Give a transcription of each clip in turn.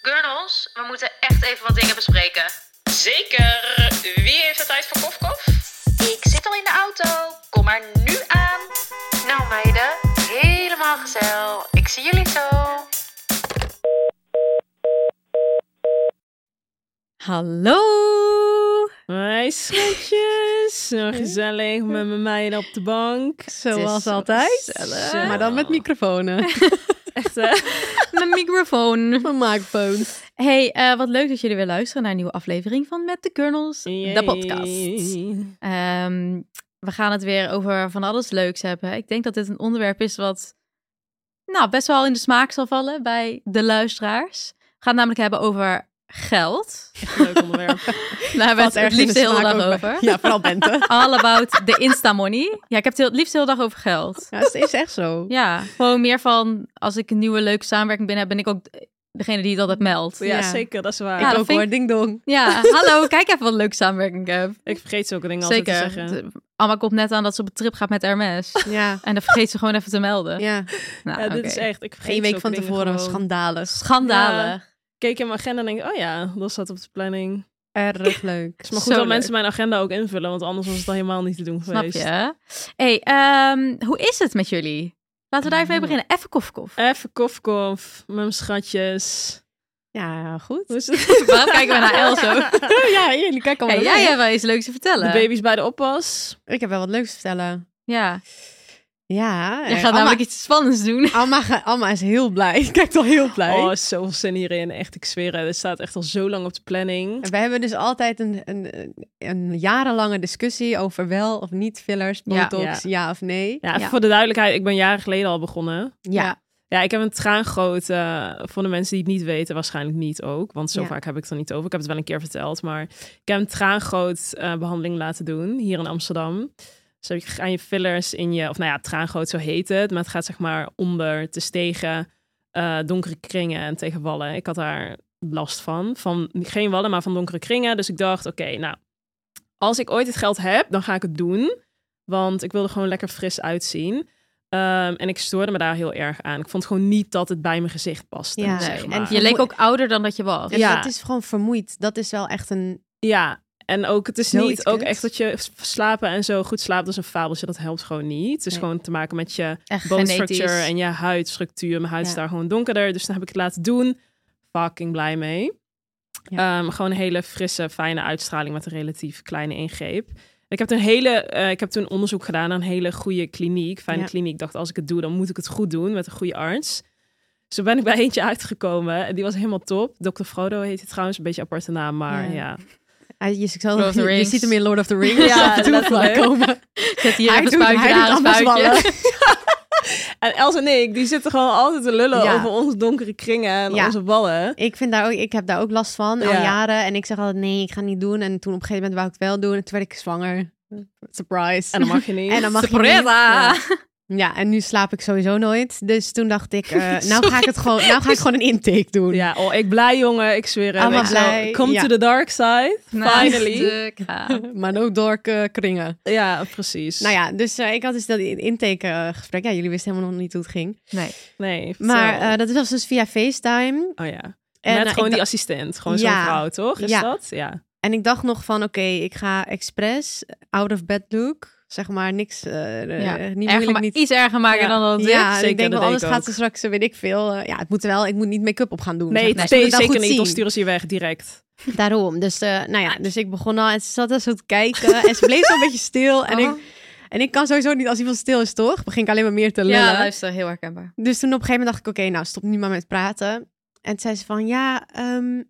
Gurnels, we moeten echt even wat dingen bespreken. Zeker. Wie heeft de tijd voor kofkof? Ik zit al in de auto. Kom maar nu aan. Nou meiden, helemaal gezellig. Ik zie jullie zo. Hallo! Hoi schatjes, zo gezellig met mijn meiden op de bank. Zoals altijd. gezellig. Maar dan met microfoons. Echt hè? Mijn microfoon. Mijn microfoon. Hey, eh, wat leuk dat jullie weer luisteren naar een nieuwe aflevering van Met de Kernels, de podcast. Ehm, we gaan het weer over van alles leuks hebben. Ik denk dat dit een onderwerp is wat nou, best wel in de smaak zal vallen bij de luisteraars. We gaan het namelijk hebben over geld. Leuk onderwerp. Daar hebben we het het liefst de hele dag over. Ja, vooral Bente. All about de Insta-money. Ja, ik heb het heel- het liefst de hele dag over geld. Ja, dat is echt zo. Ja, gewoon meer van als ik een nieuwe leuke samenwerking binnen heb, ben ik ook degene die dat altijd meldt. Ja, Ja, zeker, dat is waar. Ja. Ik, dat ook vind hoor, ik- ding dong. hallo, kijk even wat een leuke samenwerking ik heb. ik vergeet zulke dingen altijd te Zeker. zeggen. De- Amma komt net aan dat ze op een trip gaat met Hermes. Ja. En dan vergeet ze gewoon even te melden. Ja, Nou, Ja, dit oké. is echt, ik vergeet één week zulke van dingen tevoren, gewoon. schandalig. Schandalig. Ik keek in mijn agenda en denk, oh ja, dat staat op de planning. Het Erg leuk. is maar Zo goed dat leuk. mensen mijn agenda ook invullen, want anders was het al helemaal niet te doen Snap geweest. je? hey, ehm, hoe is het met jullie? Laten we daar even mee beginnen. Even kofkof. Even kofkof, met mijn schatjes. Ja, Hoe goed. is het? Waarom kijken we naar El zo? ja, jullie kijken Hey, allemaal Ah, jij naar hebt wel iets leuks te De vertellen. baby's bij de oppas. mij. Ik heb wel wat leuks te vertellen. Ja, Ja. je eh, gaat Alma, namelijk iets spannends doen. Alma, ga- Alma is heel blij. Kijkt al heel blij. Oh, zoveel zin hierin. Echt, ik zweer het. Het staat echt al zo lang op de planning. En Wij hebben dus altijd een, een, een jarenlange discussie over wel of niet fillers, Ja. botox, ja, of nee. Ja, Ja. voor de duidelijkheid, ik ben jaren geleden al begonnen. Ja. Ja, ik heb een traangroot. eh voor de mensen die het niet weten, waarschijnlijk niet ook. Want zo Ja. vaak heb ik het er niet over. Ik heb het wel een keer verteld. Maar ik heb een traangroot eh, behandeling laten doen hier in Amsterdam. Dus heb je gaan je fillers in je, of nou ja, traangroot zo heet het. Maar het gaat zeg maar onder te stegen, eh, donkere kringen en tegen wallen. Ik had daar last van. Van geen wallen, maar van donkere kringen. Dus ik dacht, oké, nou, als ik ooit het geld heb, dan ga ik het doen. Want ik wilde gewoon lekker fris uitzien. Ehm, en ik stoorde me daar heel erg aan. Ik vond gewoon niet dat het bij mijn gezicht paste. Ja, zeg nee. maar. En Je leek ook ouder dan dat je was. En Ja. dat is gewoon vermoeid. Dat is wel echt een Ja, en ook het is Zoiets niet ook kuts. echt dat je slapen en zo goed slaapt als een fabeltje. Dat helpt gewoon niet. Het is Nee. gewoon te maken met je Echt bone genetisch. structure en je huidstructuur. Mijn huid is Ja. daar gewoon donkerder. Dus dan heb ik het laten doen. Fucking blij mee. Ja. Ehm, gewoon een hele frisse, fijne uitstraling met een relatief kleine ingreep. En Ik heb, toen hele, eh, ik heb toen onderzoek gedaan aan een hele goede kliniek. Fijne Ja. kliniek. Ik dacht, als ik het doe, dan moet ik het goed doen met een goede arts. Zo ben ik bij eentje uitgekomen. En die was helemaal top. Dr. Frodo heet hij trouwens. Een beetje een aparte naam, maar Ja. ja. Hij- Je, ik zal- Lord of the je Rings. ziet hem in Lord of the Rings Ja, af en toe letterlijk. voorbij komen. Zet hier Hij even een doet- spuitje, hij daar doet een allemaal spuitje. En Els en ik, die zitten gewoon altijd te lullen Ja. over onze donkere kringen en Ja. onze wallen. Ik, vind daar ook, ik heb daar ook last van al Ja. jaren. En ik zeg altijd nee, ik ga het niet doen. En toen op een gegeven moment wou ik het wel doen. En toen werd ik zwanger. Surprise. En dan mag je niet. En dan mag je niet. Surpresa! Ja, en nu slaap ik sowieso nooit. Dus toen dacht ik, eh, nou ga ik het gewoon, nou ga ik gewoon een intake doen. Ja, oh, ik blij jongen, ik zweer het. Allemaal Ik zo, blij, Come ja. to the dark side, Nice. Ah, finally. Ja. Maar ook door eh, kringen. Ja, precies. Nou ja, dus eh, ik had dus dat intakegesprek. ja, jullie wisten helemaal nog niet hoe het ging. Nee. Nee, Maar vertel. eh, dat was dus via FaceTime. oh ja. En, Net eh, gewoon ik die assistent, gewoon zo'n Ja. vrouw, toch? Is Ja. dat? Ja. En ik dacht nog van, oké, ik ga expres out of bed look. Zeg maar, niks, eh, eh, Ja, niet Erger moeilijk, ma- niet... Iets erger maken Ja. dan dat het Ja, en zeker, ik denk dat wel, denk anders ik gaat ook. ze straks, eh, weet ik veel... eh, ja, het moet wel, ik moet niet make-up op gaan doen. Nee, zeg maar. nee, Ze moet het wel zeker goed niet, dan zien. sturen ze je weg direct. Daarom, dus eh, nou ja, Ah. dus ik begon al en ze zat daar zo te kijken en ze bleef zo een beetje stil. En, Oh. ik, en ik kan sowieso niet als iemand stil is, toch? Begin ik alleen maar meer te lullen. Ja, luister, heel herkenbaar. Dus toen op een gegeven moment dacht ik, oké, nou stop nu maar met praten. En toen zei ze van, ja, ehm,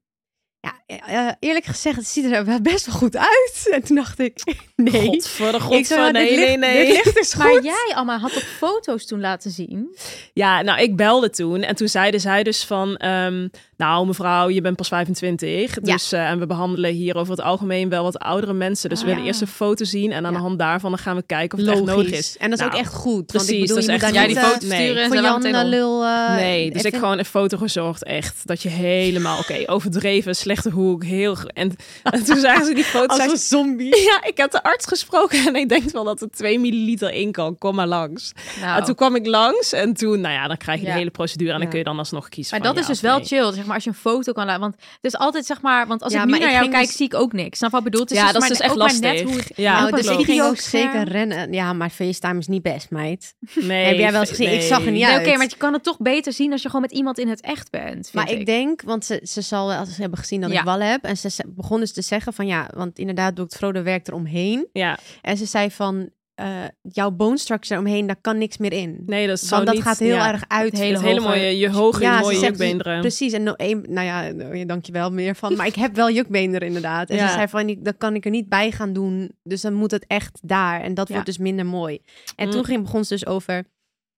ja eh, eh, eerlijk gezegd, het ziet er wel best wel goed uit. En toen dacht ik, nee. God voor de ik god zei, ja, van, dit nee, nee, ligt- nee. Dit ligt dus Maar goed. jij, Alma, had op foto's toen laten zien. Ja, nou, ik belde toen en toen zeiden zij dus van, ehm, nou mevrouw, je bent pas 25, dus eh, en we behandelen hier over het algemeen wel wat oudere mensen, dus we Ah, willen ja. eerst een foto zien en aan de Ja. hand daarvan dan gaan we kijken of het echt nodig is. En dat is Nou, ook echt goed. Want Precies, ik bedoel, dat je is moet echt daar Ja, niet die eh, foto sturen en voor ze Jan meteen eh, op. lul... eh, Nee, dus ik even- gewoon een foto gezorgd, echt dat je helemaal, oké, overdreven, slechte hoek. Heel... ge- En, en toen zagen ze die foto. Als zei een ze, zombie. ja, ik heb de arts gesproken en ik denk wel dat er 2 milliliter in kan. Kom maar langs. Nou, En toen kwam ik langs en toen, nou ja, dan krijg je Ja. de hele procedure en dan Ja. kun je dan alsnog kiezen. maar van dat is ja dus of wel nee. chill, zeg maar, als je een foto kan laten. Want het is altijd, zeg maar, want als Ja, ik nu maar naar ik jou ging kijk, dus- zie ik ook niks. Snap je wat ik bedoel? Het is Ja, dus dat is maar dus echt ook maar net lastig. hoe het- Ja, nou, klopt. dus ik ging ook Videoscherm. zeker rennen. Ja, maar FaceTime is niet best, meid. Nee, Heb jij wel eens fe- gezien? Ik zag er niet nee. Nee, Oké, uit. maar je kan het toch beter zien als je gewoon met iemand in het echt bent. vind Maar ik denk, want ze, ze zal wel ze hebben gezien dat Ja. ik wallen heb. En ze, ze begon dus te zeggen van ja, want inderdaad doe ik het Frodo werk eromheen. Ja, En ze zei van, eh, jouw bone structure eromheen, daar kan niks meer in. nee, dat is zo want dat niet- gaat heel ja. erg uit. Het hele Het hele hoge- mooie, je hoge, Ja, je ze mooie zegt dus jukbeenderen. Precies, en no, één, nou ja, nou ja, dank je wel meer van. Maar ik heb wel jukbeenderen inderdaad. En Ja. ze zei van, ik- dat kan ik er niet bij gaan doen. Dus dan moet het echt daar. En dat Ja. wordt dus minder mooi. En Mm. toen ging, begon ze dus over...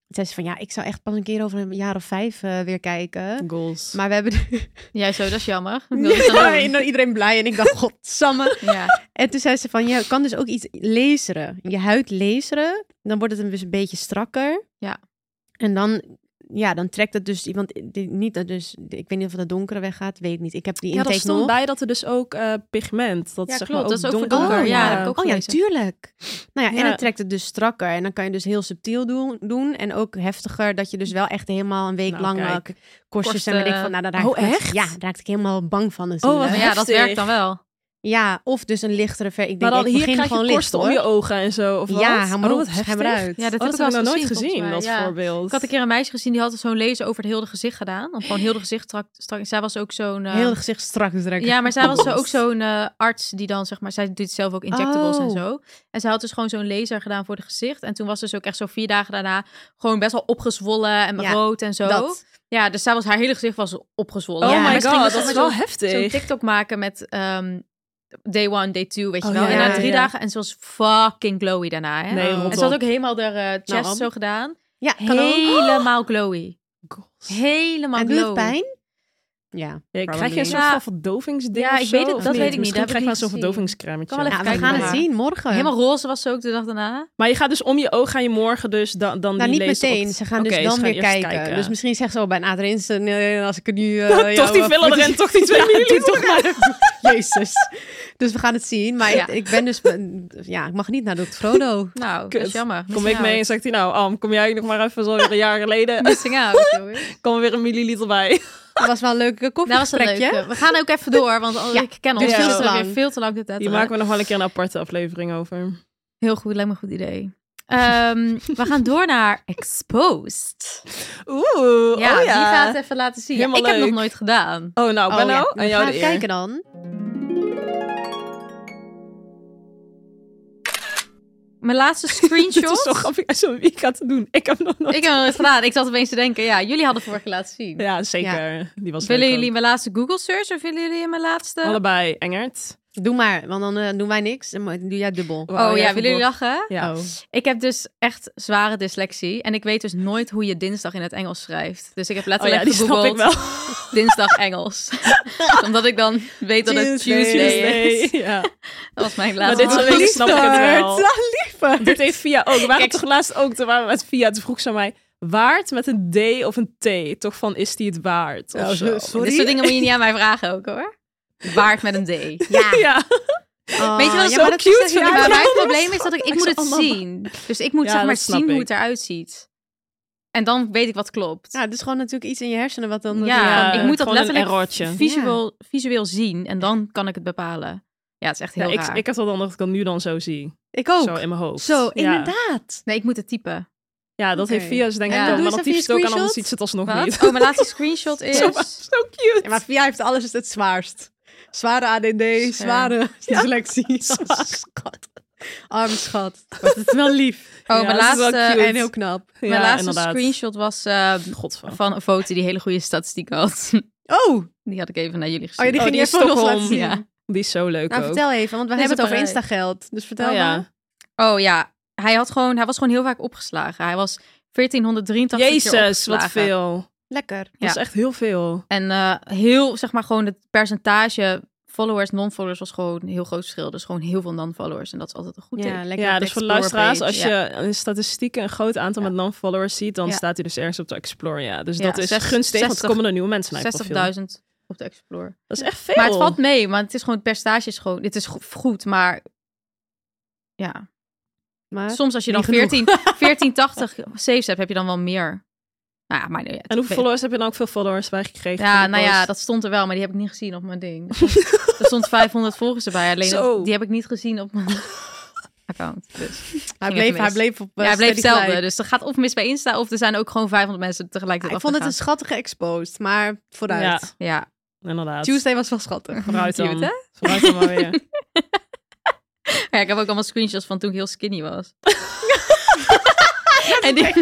toen Zei ze van, ja, ik zou echt pas een keer over een jaar of vijf eh, weer kijken. Goals. Maar we hebben... Ja, zo, dat is jammer. Ik wil het Ja, dan en dan iedereen blij. En ik dacht, godsamme. doen. Ja. En toen zei ze van, je kan dus ook iets laseren. Je huid laseren. Dan wordt het een, dus een beetje strakker. Ja. En dan, ja, dan trekt het dus iemand... die- Niet dat dus, ik weet niet of het donkere weggaat. Weet ik niet. Ik heb die ja, intake dat stond nog. bij dat er dus ook eh, pigment. Dat Ja, is zeg klopt, maar dat is ook voor donkerder. donker, ja, dat ja. heb ik ook oh ja, gelezen. tuurlijk. Nou ja, en Ja. het trekt het dus strakker. En dan kan je dus heel subtiel doen. doen en ook heftiger. Dat je dus wel echt helemaal een week Nou, lang kijk. eh, korstjes Korsten. en weet ik van... Nou, daar raak Oh, ik- echt? Oh, Ja, daar raakte ik helemaal bang van wat natuurlijk. Maar ja, dat Heftig. werkt dan wel. Ja, of dus een lichtere ver. Ik denk, Maar dan ik hier begin krijg gewoon je licht, korsten om je hoor. ogen en zo, of wat? Ja, hou maar Oh, op, wat heftig. hou maar uit. Ja, Oh, dat heb dat heb ik wel ik nog eens nooit gezien, gezien, dat volgens mij, ja. voorbeeld. Ik had een keer een meisje gezien die had zo'n lezen over het hele gezicht gedaan. Of gewoon heel het gezicht strak. strak. Zij was ook zo'n. eh, Heel gezicht strak dus trekken. ja, maar zij was zo, Klopt. ook zo'n eh, arts die dan zeg maar. Zij doet zelf ook injectables en Oh. zo. En zij had dus gewoon zo'n laser gedaan voor het gezicht. En toen was ze dus ook echt zo vier dagen daarna gewoon best wel opgezwollen en Ja, rood en zo. dat. Ja, dus zij was haar hele gezicht was opgezwollen. Oh Ja, Maar my ze ging god, dus dat ook is met wel zo'n- heftig. Zo'n TikTok maken met. ehm, Day one, day two, weet je Oh, wel. ja, en ja, na drie ja. dagen. En ze was fucking glowy daarna. Hè? Nee, Oh. rot en ze had op. ook helemaal haar eh, chest Nou, zo gedaan. Ja, kan ook. Oh. Helemaal glowy. Goals. Helemaal En doet het glowy. pijn? Ja. Ja, krijg je Probably. een soort Ja. van verdovingsding Nou, Ja, of ik zo, weet het- of dat weet ik niet, Misschien dat heb krijg ik je wel niet zo'n gezien. verdovingscremetje. Kan wel Ja, we kijken gaan naar het haar. zien morgen. Helemaal roze was ze ook de dag daarna. Maar je gaat dus om je oog ga je morgen dus dan dan nou, die niet laser op- meteen. Ze gaan Oké, dus dan ze gaan weer eerst kijken. Dus misschien zegt ze al bij na erin. Nee, als ik er nu... eh, toch jou, die eh, filler erin, toch die twee Ja, milliliter. doe toch maar. Jezus. Dus we gaan het zien. Maar Ja. ik, ik ben dus... Ja, ik mag niet naar Dr. Frodo. Nou, Kut. dat is jammer. Kom ik mee en zegt hij nou, Am, kom jij nog maar even zo weer een jaar geleden. Missing out. jongen. Kom er weer een milliliter bij. Dat was wel een leuke Dat was een koffiegesprekje. leuke. We gaan ook even door, want al- Ja, ik ken dus ons veel veel te te lang. veel te lang de tijd. Die aan. maken we nog wel een keer een aparte aflevering over. Heel goed, lijkt me een goed idee. Ehm, we gaan door naar Exposed. Oeh, Ja, oh die gaat het even laten zien. Ja, Helemaal ik heb het nog leuk. nooit gedaan. Oh, nou, Oh, Benno, ja. aan We jou gaan de het eer. kijken dan. Mijn laatste Het is zo screenshot. grappig als je wie gaat het doen. Ik heb nog nooit. ik heb het nooit gedaan. Ik zat opeens te denken, ja, jullie hadden vorige keer laten zien. Ja, zeker. Die was Willen leuk jullie ook. mijn laatste Google search of willen jullie mijn laatste... Allebei, Engert. Doe maar, want dan eh, doen wij niks. En mo- doe jij dubbel. Oh, ja, wil willen jullie lachen? Ja. Ik heb dus echt zware dyslexie. En ik weet dus nooit hoe je dinsdag in het Engels schrijft. Dus ik heb Oh ja, letterlijk die snap ik gegoogeld wel. dinsdag Engels. Omdat ik dan weet dat het Tuesday, is. Ja. Dat was mijn Maar laatste. dit soort Oh, dingen snap ik het wel. liever. Dit heeft via ook. We waren Kijk, toch laatst ook, toen waren we met via. Toen vroeg ze aan mij, waard met een D of een T? Toch van, is die het waard? Of Oh, zo. sorry. Dit soort dingen moet je niet aan mij vragen ook hoor. Waard met een D. Ja. Ja. Oh, Weet je wat zo cute vind Ja, ik maar dat. mijn probleem is dat ik, ik moet het allemaal- zien. Dus ik moet Ja, zeg maar dat snap zien hoe ik. het eruit ziet. En dan weet ik wat klopt. Ja, het is gewoon natuurlijk iets in je hersenen wat dan... Ja, Ja, ik moet dat eh, gewoon een letterlijk errortje. visueel, visueel zien en dan kan ik het bepalen. Ja, het is echt Ja, heel ik, raar. ik heb dat dan dat ik dat nu dan zo zie. Ik ook. Zo in mijn hoofd. Zo, ja. inderdaad. Nee, ik moet het typen. Ja, dat Oké. heeft via. Ze denken, Ja. ja. Doe maar eens dat even je typen ze ook aan, anders screenshot. ziet ze het alsnog Wat? niet. Oh, mijn laatste screenshot is... Zo, zo cute. Ja, maar via heeft alles is het zwaarst. Zware ADD, zware dyslexie. Zwaar. Schat. Arm schat. Oh! Maar het is wel lief. Oh, Ja, mijn dat is wel laatste, cute. En heel knap. Ja, mijn laatste inderdaad. screenshot was eh, Godver. van een foto die hele goede statistiek had. Oh, oh Oh, die had ik even naar jullie ja, gestuurd. die ging Oh, die je is even nog Stockholm. laten zien. Ja. Die is zo leuk Nou, ook. vertel even, want we Deze hebben het over Parijs. Instageld. Dus vertel Oh maar. ja. Oh ja, hij, had gewoon, hij was gewoon heel vaak opgeslagen. Hij was 1483 keer Jezus, wat opgeslagen. veel. Lekker. Dat is echt heel veel. En eh, heel, zeg maar, gewoon het percentage followers, non-followers was gewoon een heel groot verschil. Dus gewoon heel veel non-followers. En dat is altijd een goed teken. lekker. ja, dus voor de explore luisteraars, page, als je in statistieken een groot aantal met non-followers ziet, dan Ja. staat hij dus ergens op de Explore. Ja. Dus Ja, dat is zes- gunstig, want er 60 komen er nieuwe mensen naar je profiel. 60.000 op de Explore. Dat is echt veel. Maar het valt mee, want het is gewoon het percentage is gewoon. Dit is go- goed, maar ja. Maar Soms als je dan niet genoeg. 14, 1480 saves hebt, heb je dan wel meer. Nou ja, maar nee, het- En hoeveel followers heb je dan ook veel followers bij gekregen? voor Ja, die nou ja, post? dat stond er wel, maar die heb ik niet gezien op mijn ding. Dus Er stond 500 volgers erbij, alleen Zo. dat- die heb ik niet gezien op mijn account. Dus. hij, ging bleef, even hij mis. bleef op. Ja, eh, hij bleef steady hetzelfde, gelijk. dus er gaat of mis bij Insta of er zijn ook gewoon 500 mensen tegelijkertijd Ja, Ah, ik vond het een afgegaan. schattige exposed, maar vooruit. Ja, Ja, inderdaad. Tuesday was wel schattig. Vooruit dan. Cute, hè? Vooruit dan maar weer. Ja, ik heb ook allemaal screenshots van toen ik heel skinny was. en die,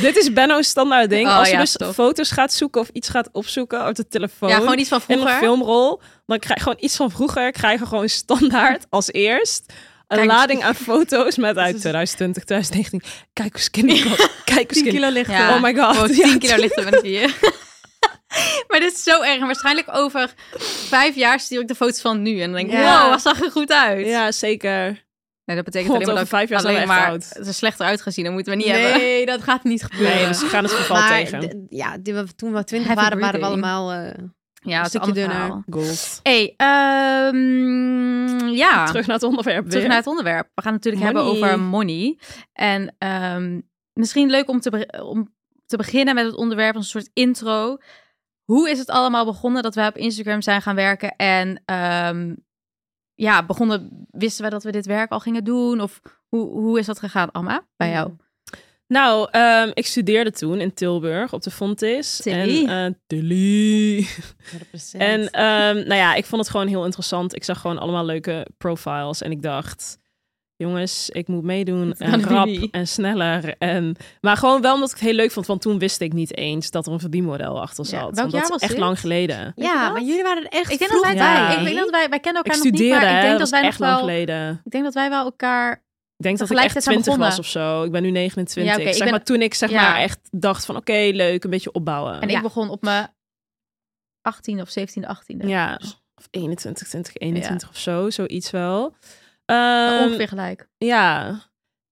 Dit is Benno's standaard ding. Oh, Als je ja, dus tof. foto's gaat zoeken of iets gaat opzoeken op de telefoon. ja, gewoon iets van in een vroeger. filmrol. Dan krijg je gewoon iets van vroeger. Krijg je gewoon standaard als eerst. Een Kijk, lading aan foto's met uit is- 2020, 2019. Kijk hoe skinny ik was. Kijk hoe 10 skinny. kilo lichter. Ja. Oh my god. Gewoon Ja, 10 kilo lichter ben ik hier. maar dit is zo erg. En waarschijnlijk over vijf jaar stuur ik de foto's van nu. En dan denk ik, Ja. wow, wat zag er goed uit. Ja, zeker. Nee, dat betekent God, alleen maar dat over vijf jaar zijn we alleen echt maar oud. het er slechter uitgezien. Dat moeten we niet hebben. Nee, dat gaat niet gebeuren. Nee, dus we gaan het geval maar tegen. d- ja, die we- toen we twintig Happy waren, waren we birthday. allemaal... eh, Ja, het is een stukje ander dunner. verhaal. Goals. hey, ehm, ja. Terug naar het onderwerp weer. Terug naar het onderwerp. We gaan het natuurlijk hebben Money. over money. En ehm, misschien leuk om te, be- om te beginnen met het onderwerp, een soort intro. Hoe is het allemaal begonnen dat wij op Instagram zijn gaan werken? En ehm, ja, begonnen, wisten wij dat we dit werk al gingen doen? Of hoe, hoe is dat gegaan, Amma, bij jou? Nou, ehm, ik studeerde toen in Tilburg op de Fontis. Tilly. En, eh, Tilly. En en ehm, nou ja, ik vond het gewoon heel interessant. Ik zag gewoon allemaal leuke profiles en ik dacht, jongens, ik moet meedoen kan en ik rap niet. en sneller. En, maar gewoon wel omdat ik het heel leuk vond, want toen wist ik niet eens dat er een verdienmodel achter Ja, zat. welk want jaar dat is was echt dit? lang geleden. ja, maar jullie waren er echt Ik denk dat wij, vroeg Ja. wij, ik weet dat wij, wij kennen Ik elkaar nog niet, studeerde, maar ik denk dat was dat wij nog echt lang wel, geleden. Oh, ik denk dat wij wel elkaar, Ik denk dat ik echt tegelijkertijd zijn 20 was begonnen. of zo. Ik ben nu 29. Ja, oké, ik zeg ben- maar, toen ik zeg Ja. maar echt dacht van oké, leuk, een beetje opbouwen. en Ja. ik begon op mijn 18 of Dus 17, 18e. Ja, of 21, 20, 21 of zo, zoiets wel. Ehm, Ongeveer gelijk. Ja.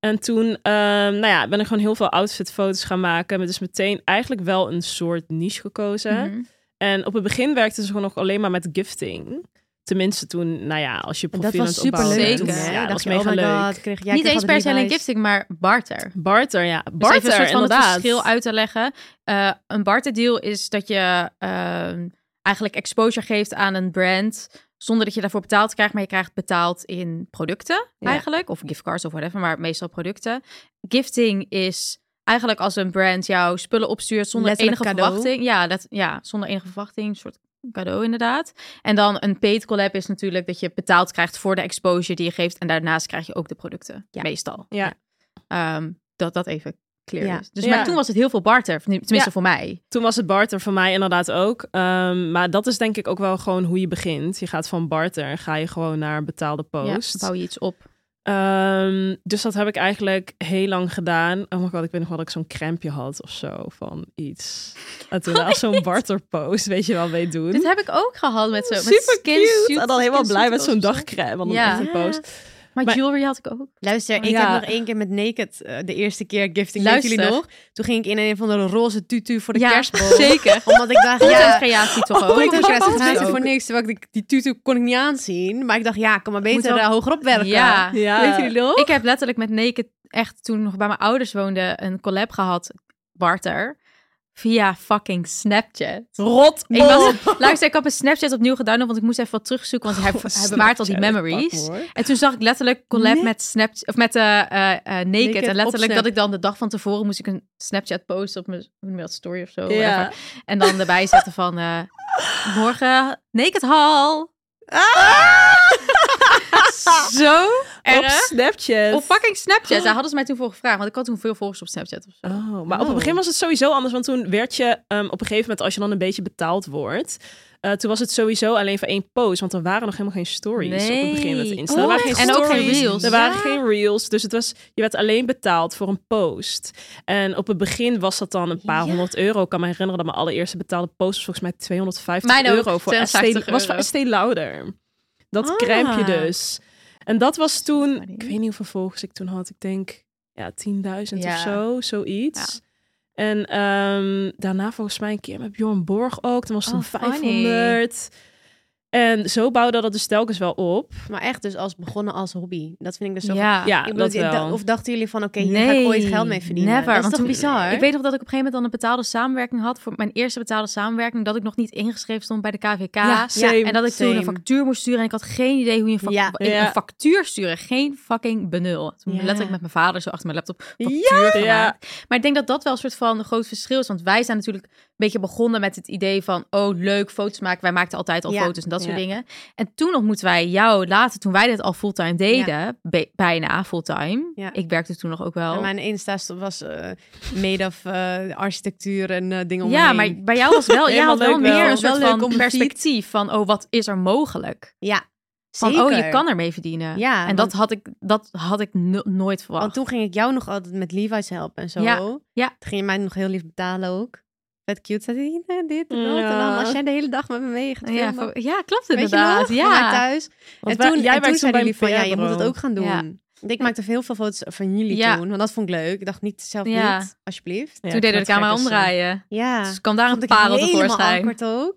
En toen ehm, nou ja, ben ik gewoon heel veel outfitfoto's gaan maken. Met dus meteen eigenlijk wel een soort niche gekozen. Mhm. En op het begin werkte ze gewoon nog alleen maar met gifting. Tenminste toen, nou ja, als je En profiel dat was aan het opbouwen superleuk. Zeker. bent. toen, hè? Ja, dat Dacht was je, oh mega my leuk. God, kreeg jij niet kreeg eens al per die se alleen replies. gifting, maar barter. Barter, ja. Dus Barter, even een soort van inderdaad. het verschil uit te leggen. Eh, een barterdeal is dat je ehm, eigenlijk exposure geeft aan een brand zonder dat je daarvoor betaald krijgt, maar je krijgt betaald in producten Ja. eigenlijk, of giftcards of whatever, maar meestal producten. Gifting is eigenlijk als een brand jou spullen opstuurt zonder Letterlijk enige cadeau. verwachting. Ja, dat, ja, zonder enige verwachting, een soort cadeau inderdaad. En dan een paid collab is natuurlijk dat je betaald krijgt voor de exposure die je geeft en daarnaast krijg je ook de producten, meestal. Ja. Ehm, dat dat even clear Ja. is. Dus Ja. maar toen was het heel veel barter, tenminste Ja. voor mij. Toen was het barter voor mij inderdaad ook. Ehm, maar dat is denk ik ook wel gewoon hoe je begint. Je gaat van barter, ga je gewoon naar een betaalde post. Ja, bouw je iets op. Ehm, dus dat heb ik eigenlijk heel lang gedaan. Oh my god, ik weet nog wel dat ik zo'n crampje had of zo van iets. En toen als zo'n barterpost, weet je wel, weet doen. Oh Dit heb ik ook gehad met zo. Met Super skin cute. suit- en dan helemaal skin blij suit met zo'n of zo. dagcrème van Ja. een post. Maar, Maar- jewelry had ik ook. Luister, ik Ja. heb nog één keer met Naked eh, de eerste keer Luister. gifting. Luister. jullie nog? Toen ging ik in een van de roze tutu voor de ja, kerstboom. zeker. Omdat ik dacht, Content ja, creatie toch ook. Oh, ik dacht, ja, ze Content gaan ze ook. voor niks. Terwijl ik die, die tutu kon ik niet aanzien. Maar ik dacht, ja, ik kan maar Moet beter wel- eh, hogerop werken. Ja. Ja. Weet jullie nog? Oh. Ik heb letterlijk met Naked echt toen nog bij mijn ouders woonde een collab gehad, barter, via fucking Snapchat. Rot Ik was, luister, ik had mijn Snapchat opnieuw gedownload, want ik moest even wat terugzoeken, want hij, Oh, hij bewaart al die memories. En toen zag ik letterlijk collab Nee. met Snapchat of met eh, eh, eh, Naked. Naked En op letterlijk Snap. dat ik dan de dag van tevoren moest ik een Snapchat posten op mijn hoe noem je dat, story of zo. Ja. whatever. En dan erbij zetten van eh, morgen Naked Hall. zo Op erg. Snapchat. Op fucking Snapchat. Daar hadden ze mij toen voor gevraagd, want ik had toen veel volgers op Snapchat of zo. Oh, maar op het begin was het sowieso anders, want toen werd je ehm, op een gegeven moment, als je dan een beetje betaald wordt, eh, toen was het sowieso alleen voor één post, want er waren nog helemaal geen stories op het begin met Nee. Insta. Oh er waren mijn geen god. En ook stories, geen reels. Er waren Ja. geen reels, dus het was, je werd alleen betaald voor een post. En op het begin was dat dan een paar Ja. honderd euro. Ik kan me herinneren dat mijn allereerste betaalde post was volgens mij 250 Mijn ook, euro voor ST, 250 was voor euro. ST Lauder. Dat Ah. crampje dus. En dat was toen, funny. ik weet niet hoeveel volgers ik toen had, ik denk ja, 10.000 Ja. of zo, zoiets. En ehm, daarna volgens mij een keer met Bjorn Borg ook. Toen was het Oh, een funny. 500. En zo bouwde dat dus telkens wel op. Maar echt dus als begonnen als hobby. Dat vind ik dus zo ja. Ja, Ik bedoel, dat ik wel. dacht- of dachten jullie van, oké, hier ga ik ooit geld mee verdienen? Never, dat is want toch toen- bizar? Ik weet nog dat ik op een gegeven moment dan een betaalde samenwerking had. Voor mijn eerste betaalde samenwerking. Dat ik nog niet ingeschreven stond bij de KVK. same. en dat ik toen een same. factuur moest sturen. En ik had geen idee hoe je een, fac- Ja. ik- een Ja. factuur sturen. Geen fucking benul. Toen Ja. letterlijk met mijn vader zo achter mijn laptop factuur Ja. gemaakt. Maar ik denk dat dat wel een soort van groot verschil is. Want wij zijn natuurlijk een beetje begonnen met het idee van... Oh, leuk, foto's maken. Wij maakten altijd al Ja. foto's en dat soort Ja. dingen. En toen ontmoeten wij jou later, toen wij dit al fulltime deden. be- bijna fulltime. Ja. Ik werkte toen nog ook wel. En Mijn Insta st- was eh, made of eh, architectuur en eh, dingen om Ja, maar bij jou was wel, jij Helemaal had wel leuk wel. meer een Wel soort leuk van om de perspectief van, oh, wat is er mogelijk? Ja, Van, zeker. oh, je kan ermee verdienen. Ja, en dat want, had ik, dat had ik no- nooit verwacht. want toen ging ik jou nog altijd met Levi's helpen en zo. Ja, ja. Toen ging je mij nog heel lief betalen ook. Vet cute, zei hij, "Nee, dit en dat. En Ja. dan was jij de hele dag met me mee gaat ja, filmen. voor- ja, klopt Weet je nog? inderdaad. Van mij Ja. thuis. Want en wij- toen, jij en toen werkt zeiden bij jullie van, ja, je moet het PR-bureau. ook gaan doen. Ja. Ik maakte heel veel foto's van jullie Ja. toen, want dat vond ik leuk. Ik dacht niet zelf Ja. niet, alsjeblieft. Ja, toen deden we de knettergek camera is, eh, omdraaien. Ja. Dus kwam daar een Vond ik parel helemaal tevoorschijn. awkward ook.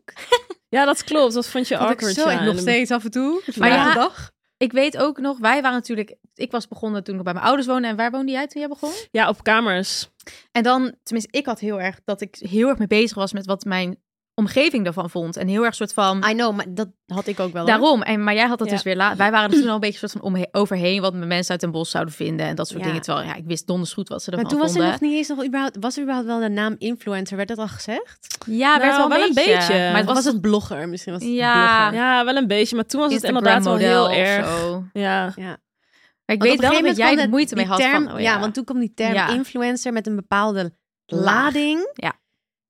Ja, dat klopt. Dat vond je Vond ik awkward. zo, ja. en nog steeds af en toe. Maar Vandaag ja. de dag. Ik weet ook nog, wij waren natuurlijk... Ik was begonnen toen ik bij mijn ouders woonde. En waar woonde jij toen jij begon? Ja, op kamers. En dan, tenminste, ik had heel erg dat ik heel erg mee bezig was met wat mijn omgeving daarvan vond. En heel erg soort van... I know, maar dat had ik ook wel. hoor. Daarom, en, maar jij had dat Ja. dus weer laat. Wij waren er toen al een beetje soort van omhe- overheen wat mijn mensen uit Den Bosch zouden vinden en dat soort Ja. dingen. Terwijl ja, ik wist donders goed wat ze Maar ervan toen was er vonden. nog niet eens nog überhaupt, was er überhaupt wel de naam influencer, werd dat al gezegd? Ja, werd Nou, wel, een beetje. Maar het Of was, was het blogger? Misschien was het Ja. blogger. Ja, wel een beetje. Maar toen was het inderdaad wel Instagram-model heel of erg. zo. Ja. Maar ik Want weet op een gegeven wel dat moment jij kwam er dat- moeite mee die had term- van, oh ja. want toen kwam die term Ja. influencer met een bepaalde Laag. lading. Ja.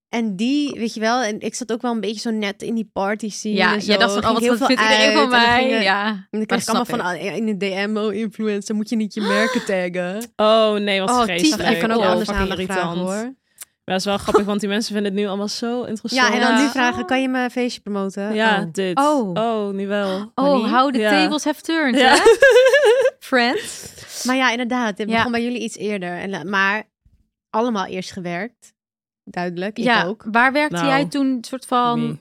En die, weet je wel, en ik zat ook wel een beetje zo net in die party scene. ja, en zo. jij dacht van, Er oh, ging wat heel vindt veel iedereen uit van en er mij? gingen- ja. En dan Maar kreeg ik allemaal snap van, ah, in de DM, oh, influencer, moet je niet je merken taggen. Oh nee, wat Oh, vreselijk. tyfus. Ik kan ook Ja, anders fucking aandacht vragen, hoor. Maar dat is wel grappig, want die mensen vinden het nu allemaal zo interessant. Ja, en dan Ja. nu vragen, kan je mijn feestje promoten? Ja, Oh. dit. Oh. Oh. nu wel. Oh, how the Ja. tables have turned, Ja. hè? Friends. Oh. Maar ja, inderdaad, het Ja. begon bij jullie iets eerder. En, la- maar allemaal eerst gewerkt. Duidelijk, ik ja, ook. waar werkte Nou, jij toen een soort eh, van... Nee.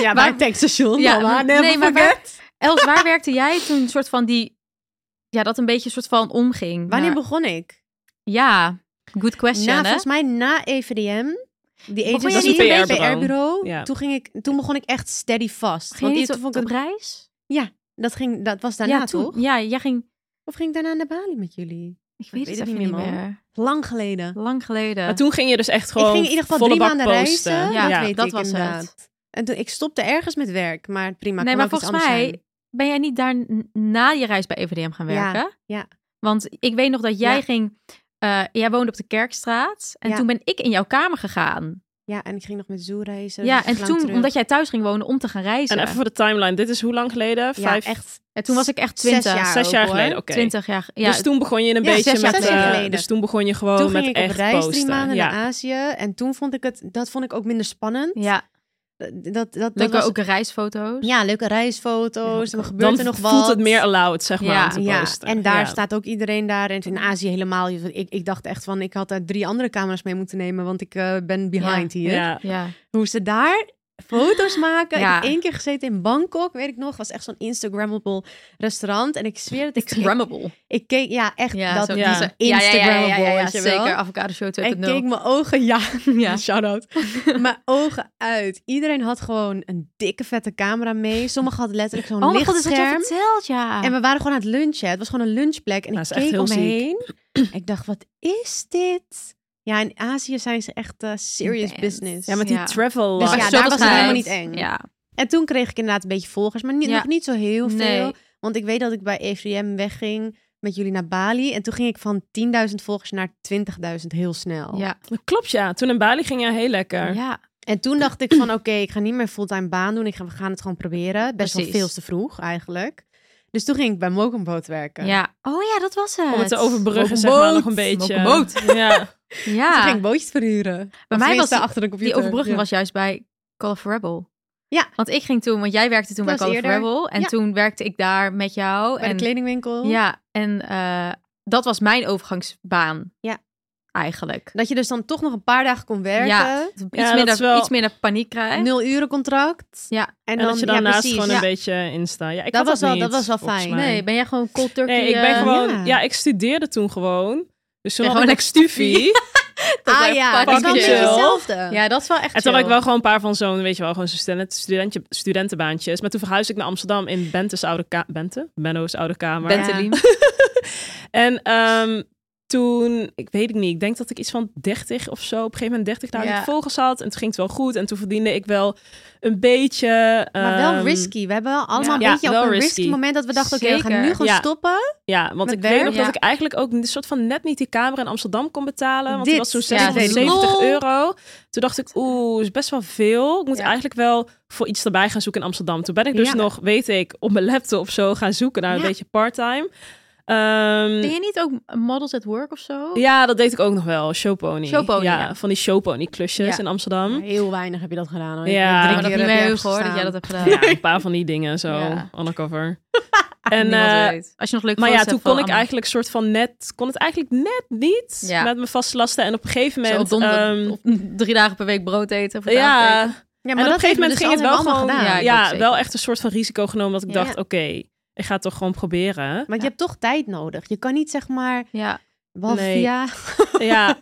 Ja, bij bij het het tankstation. Ja, mama, maar- never nee, maar forget. Els, waar werkte jij toen een soort van die... Ja, dat een beetje een soort van omging. Wanneer naar- begon ik? Ja, good question, Na, hè? Nou, volgens mij na E EVDM. Die Begon agency, jij niet een beetje- PR-bureau. Ja. Toen, ging ik, toen begon ik echt steady vast. Ging want je die, niet toen op, vond op ik het- reis? dat, ging, dat was daarna, ja, toen- toch? Ja, jij ging... Of ging ik daarna naar Bali met jullie? Ik weet, weet het het even niet niet meer, meer. man. Lang geleden. Lang geleden. Maar toen ging je dus echt gewoon ik ging in ieder geval volle drie bak maanden posten. reizen. Ja, dat weet dat ik was het. inderdaad. En toen, ik stopte ergens met werk, maar prima. nee, kon maar ook iets volgens anders mij zijn. ben jij niet daar n- na je reis bij EVDM gaan Ja, werken. ja. Want ik weet nog dat jij Ja. ging... eh, jij woonde op de Kerkstraat. En Ja. toen ben ik in jouw kamer gegaan. Ja, en ik ging nog met Zoe reizen. ja, dus en lang toen, terug. omdat jij thuis ging wonen om te gaan reizen. En even voor de timeline. Dit is hoe lang geleden? Ja, Vijf, echt En toen was ik echt zes 20. jaar, zes ook, jaar hoor. geleden. Oké. 20 jaar. ge- Ja, dus toen begon je een Ja, beetje zes jaar met... geleden. eh, Zes jaar dus toen begon je gewoon Toen met ging ik echt op reis posten. drie maanden ja. naar Azië. En toen vond ik het, dat vond ik ook minder spannend. Eh, ja. Dat, dat, dat, leuke was, ook reisfoto's. Ja, leuke reisfoto's. dan gebeurt Dan er nog wat. voelt het meer allowed, zeg maar, Ja, om te ja, posten. en daar Ja. staat ook iedereen daar. En in Azië helemaal. Ik, ik dacht echt van, ik had daar drie andere camera's mee moeten nemen, want ik eh, ben behind hier. Ja. Ja. Hoe ze daar foto's maken. Ja. Ik heb één keer gezeten in Bangkok, weet ik nog. was echt zo'n Instagrammable restaurant. En ik zweer het, ik, ik, Instagrammable. ik keek, ja, echt dat, zo- die ja. is een Ja, ja, ja, ja, ja, Instagrammable, ja, weet je wel. zeker. Avocado show 2.0. En keek mijn ogen, ja, Ja. shout-out. mijn ogen uit. Iedereen had gewoon een dikke vette camera mee. Sommigen hadden letterlijk zo'n Oh mijn god, is dat je lichtscherm. verteld, ja. en we waren gewoon aan het lunchen. Het was gewoon een lunchplek. En Ja, ik dat Ah. is echt keek heel om me ziek. heen. ik dacht, wat is dit? Ja, in Azië zijn ze echt eh, serious Band. business. Ja, met die Ja. travel eh, Dus life. ja, Maar daar zo was het schijnt. helemaal niet eng. Ja. En toen kreeg ik inderdaad een beetje volgers, maar niet, Ja. nog niet zo heel veel. Nee. Want ik weet dat ik bij EVM wegging met jullie naar Bali. En toen ging ik van 10.000 volgers naar 20.000 heel snel. Ja. Dat Klopt, ja. Toen in Bali ging jij heel lekker. ja. En toen dacht ik van, oké, ik ga niet meer fulltime baan doen. Ik ga, we gaan het gewoon proberen. Best Precies. wel veel te vroeg eigenlijk. Dus toen ging ik bij Mokumboot werken. Ja. Oh ja, dat was het. Om het te overbruggen, Mogen zeg maar, boot. nog een beetje. Mogen boot. Ja. Toen ging Ja. ik bootjes verhuren. Bij mij was die, achter de computer. die overbrugging Ja. was juist bij Call of Rebel. Ja. Want ik ging toen, want jij werkte toen Dat bij was Call of eerder. Rebel. En Ja. toen werkte ik daar met jou. bij en, de kledingwinkel. Ja. En eh, dat was mijn overgangsbaan. Ja. eigenlijk. Dat je dus dan toch nog een paar dagen kon werken. Ja. Iets, dat minder, is wel- iets minder paniek krijgt. Nul uren contract. Ja. En, En, dan, dat je ja, daarnaast precies. gewoon Ja. een beetje insta. Ja, ik Dat had was wel- niet, dat was wel volgens fijn. mij. Nee, ben jij gewoon cold turkey? Nee, ik ben eh, gewoon... ja. Ja. ik studeerde toen gewoon. Dus toen Ja, had gewoon ik een een stufie. dat Ah wij ja, dat pakken is wel een beetje chill. hetzelfde. Ja, dat is wel echt En toen had ik chill. wel gewoon een paar van zo'n, weet je wel, gewoon zo'n student, studentje, studentenbaantjes. Maar toen verhuisde ik naar Amsterdam in Bente's oude kamer. Bente? Benno's oude kamer. Bente. Bentley. En ehm, toen, ik weet het niet, ik denk dat ik iets van 30 of zo, op een gegeven moment 30.000 Ja. vogels had. En toen ging het wel goed. En toen verdiende ik wel een beetje. Maar wel ehm, risky. We hebben wel allemaal Ja. een beetje Ja, op wel een risky, risky. moment dat we dachten, oké, we gaan nu Zeker. gewoon Ja. stoppen. Ja, want Met ik werk? weet nog Ja. dat ik eigenlijk ook een soort van net niet die kamer in Amsterdam kon betalen. Want die Dit. was zo'n Ja, 670 lol. euro. Toen dacht ik, oeh, is best wel veel. Ik moet Ja. eigenlijk wel voor iets erbij gaan zoeken in Amsterdam. Toen ben ik dus Ja. nog, weet ik, op mijn laptop of zo gaan zoeken naar Ja. een beetje part-time. Ehm, Ben je niet ook models at work of zo? ja, dat deed ik ook nog wel. Showpony. Showpony, ja, ja. Van die showpony klusjes Ja. in Amsterdam. Heel weinig heb je dat gedaan hoor. Ik heb drie Ja, keer maar dat niet meer heeft gehoord dat jij dat hebt gedaan. Ja, een paar van die dingen zo. Ja. Undercover. en Niemand eh, weet. Als je nog leuk Maar ja, foto's toen hebt van kon ik Anna. eigenlijk soort van net, kon het eigenlijk net niet Ja. met mijn vaste lasten. En op een gegeven Zo moment, op donder- ehm, op drie dagen per week brood eten. Of ja, ja. en Ja, op een dat gegeven hebben moment we ging het dus wel altijd gewoon, allemaal ja, gedaan. gedaan. Ja, ik ook wel zeker. echt een soort van risico genomen dat ik Ja. dacht, oké, ik ga het toch gewoon proberen. Want je hebt toch tijd nodig. Je kan niet zeg maar, Ja. wel Nee. via... ja,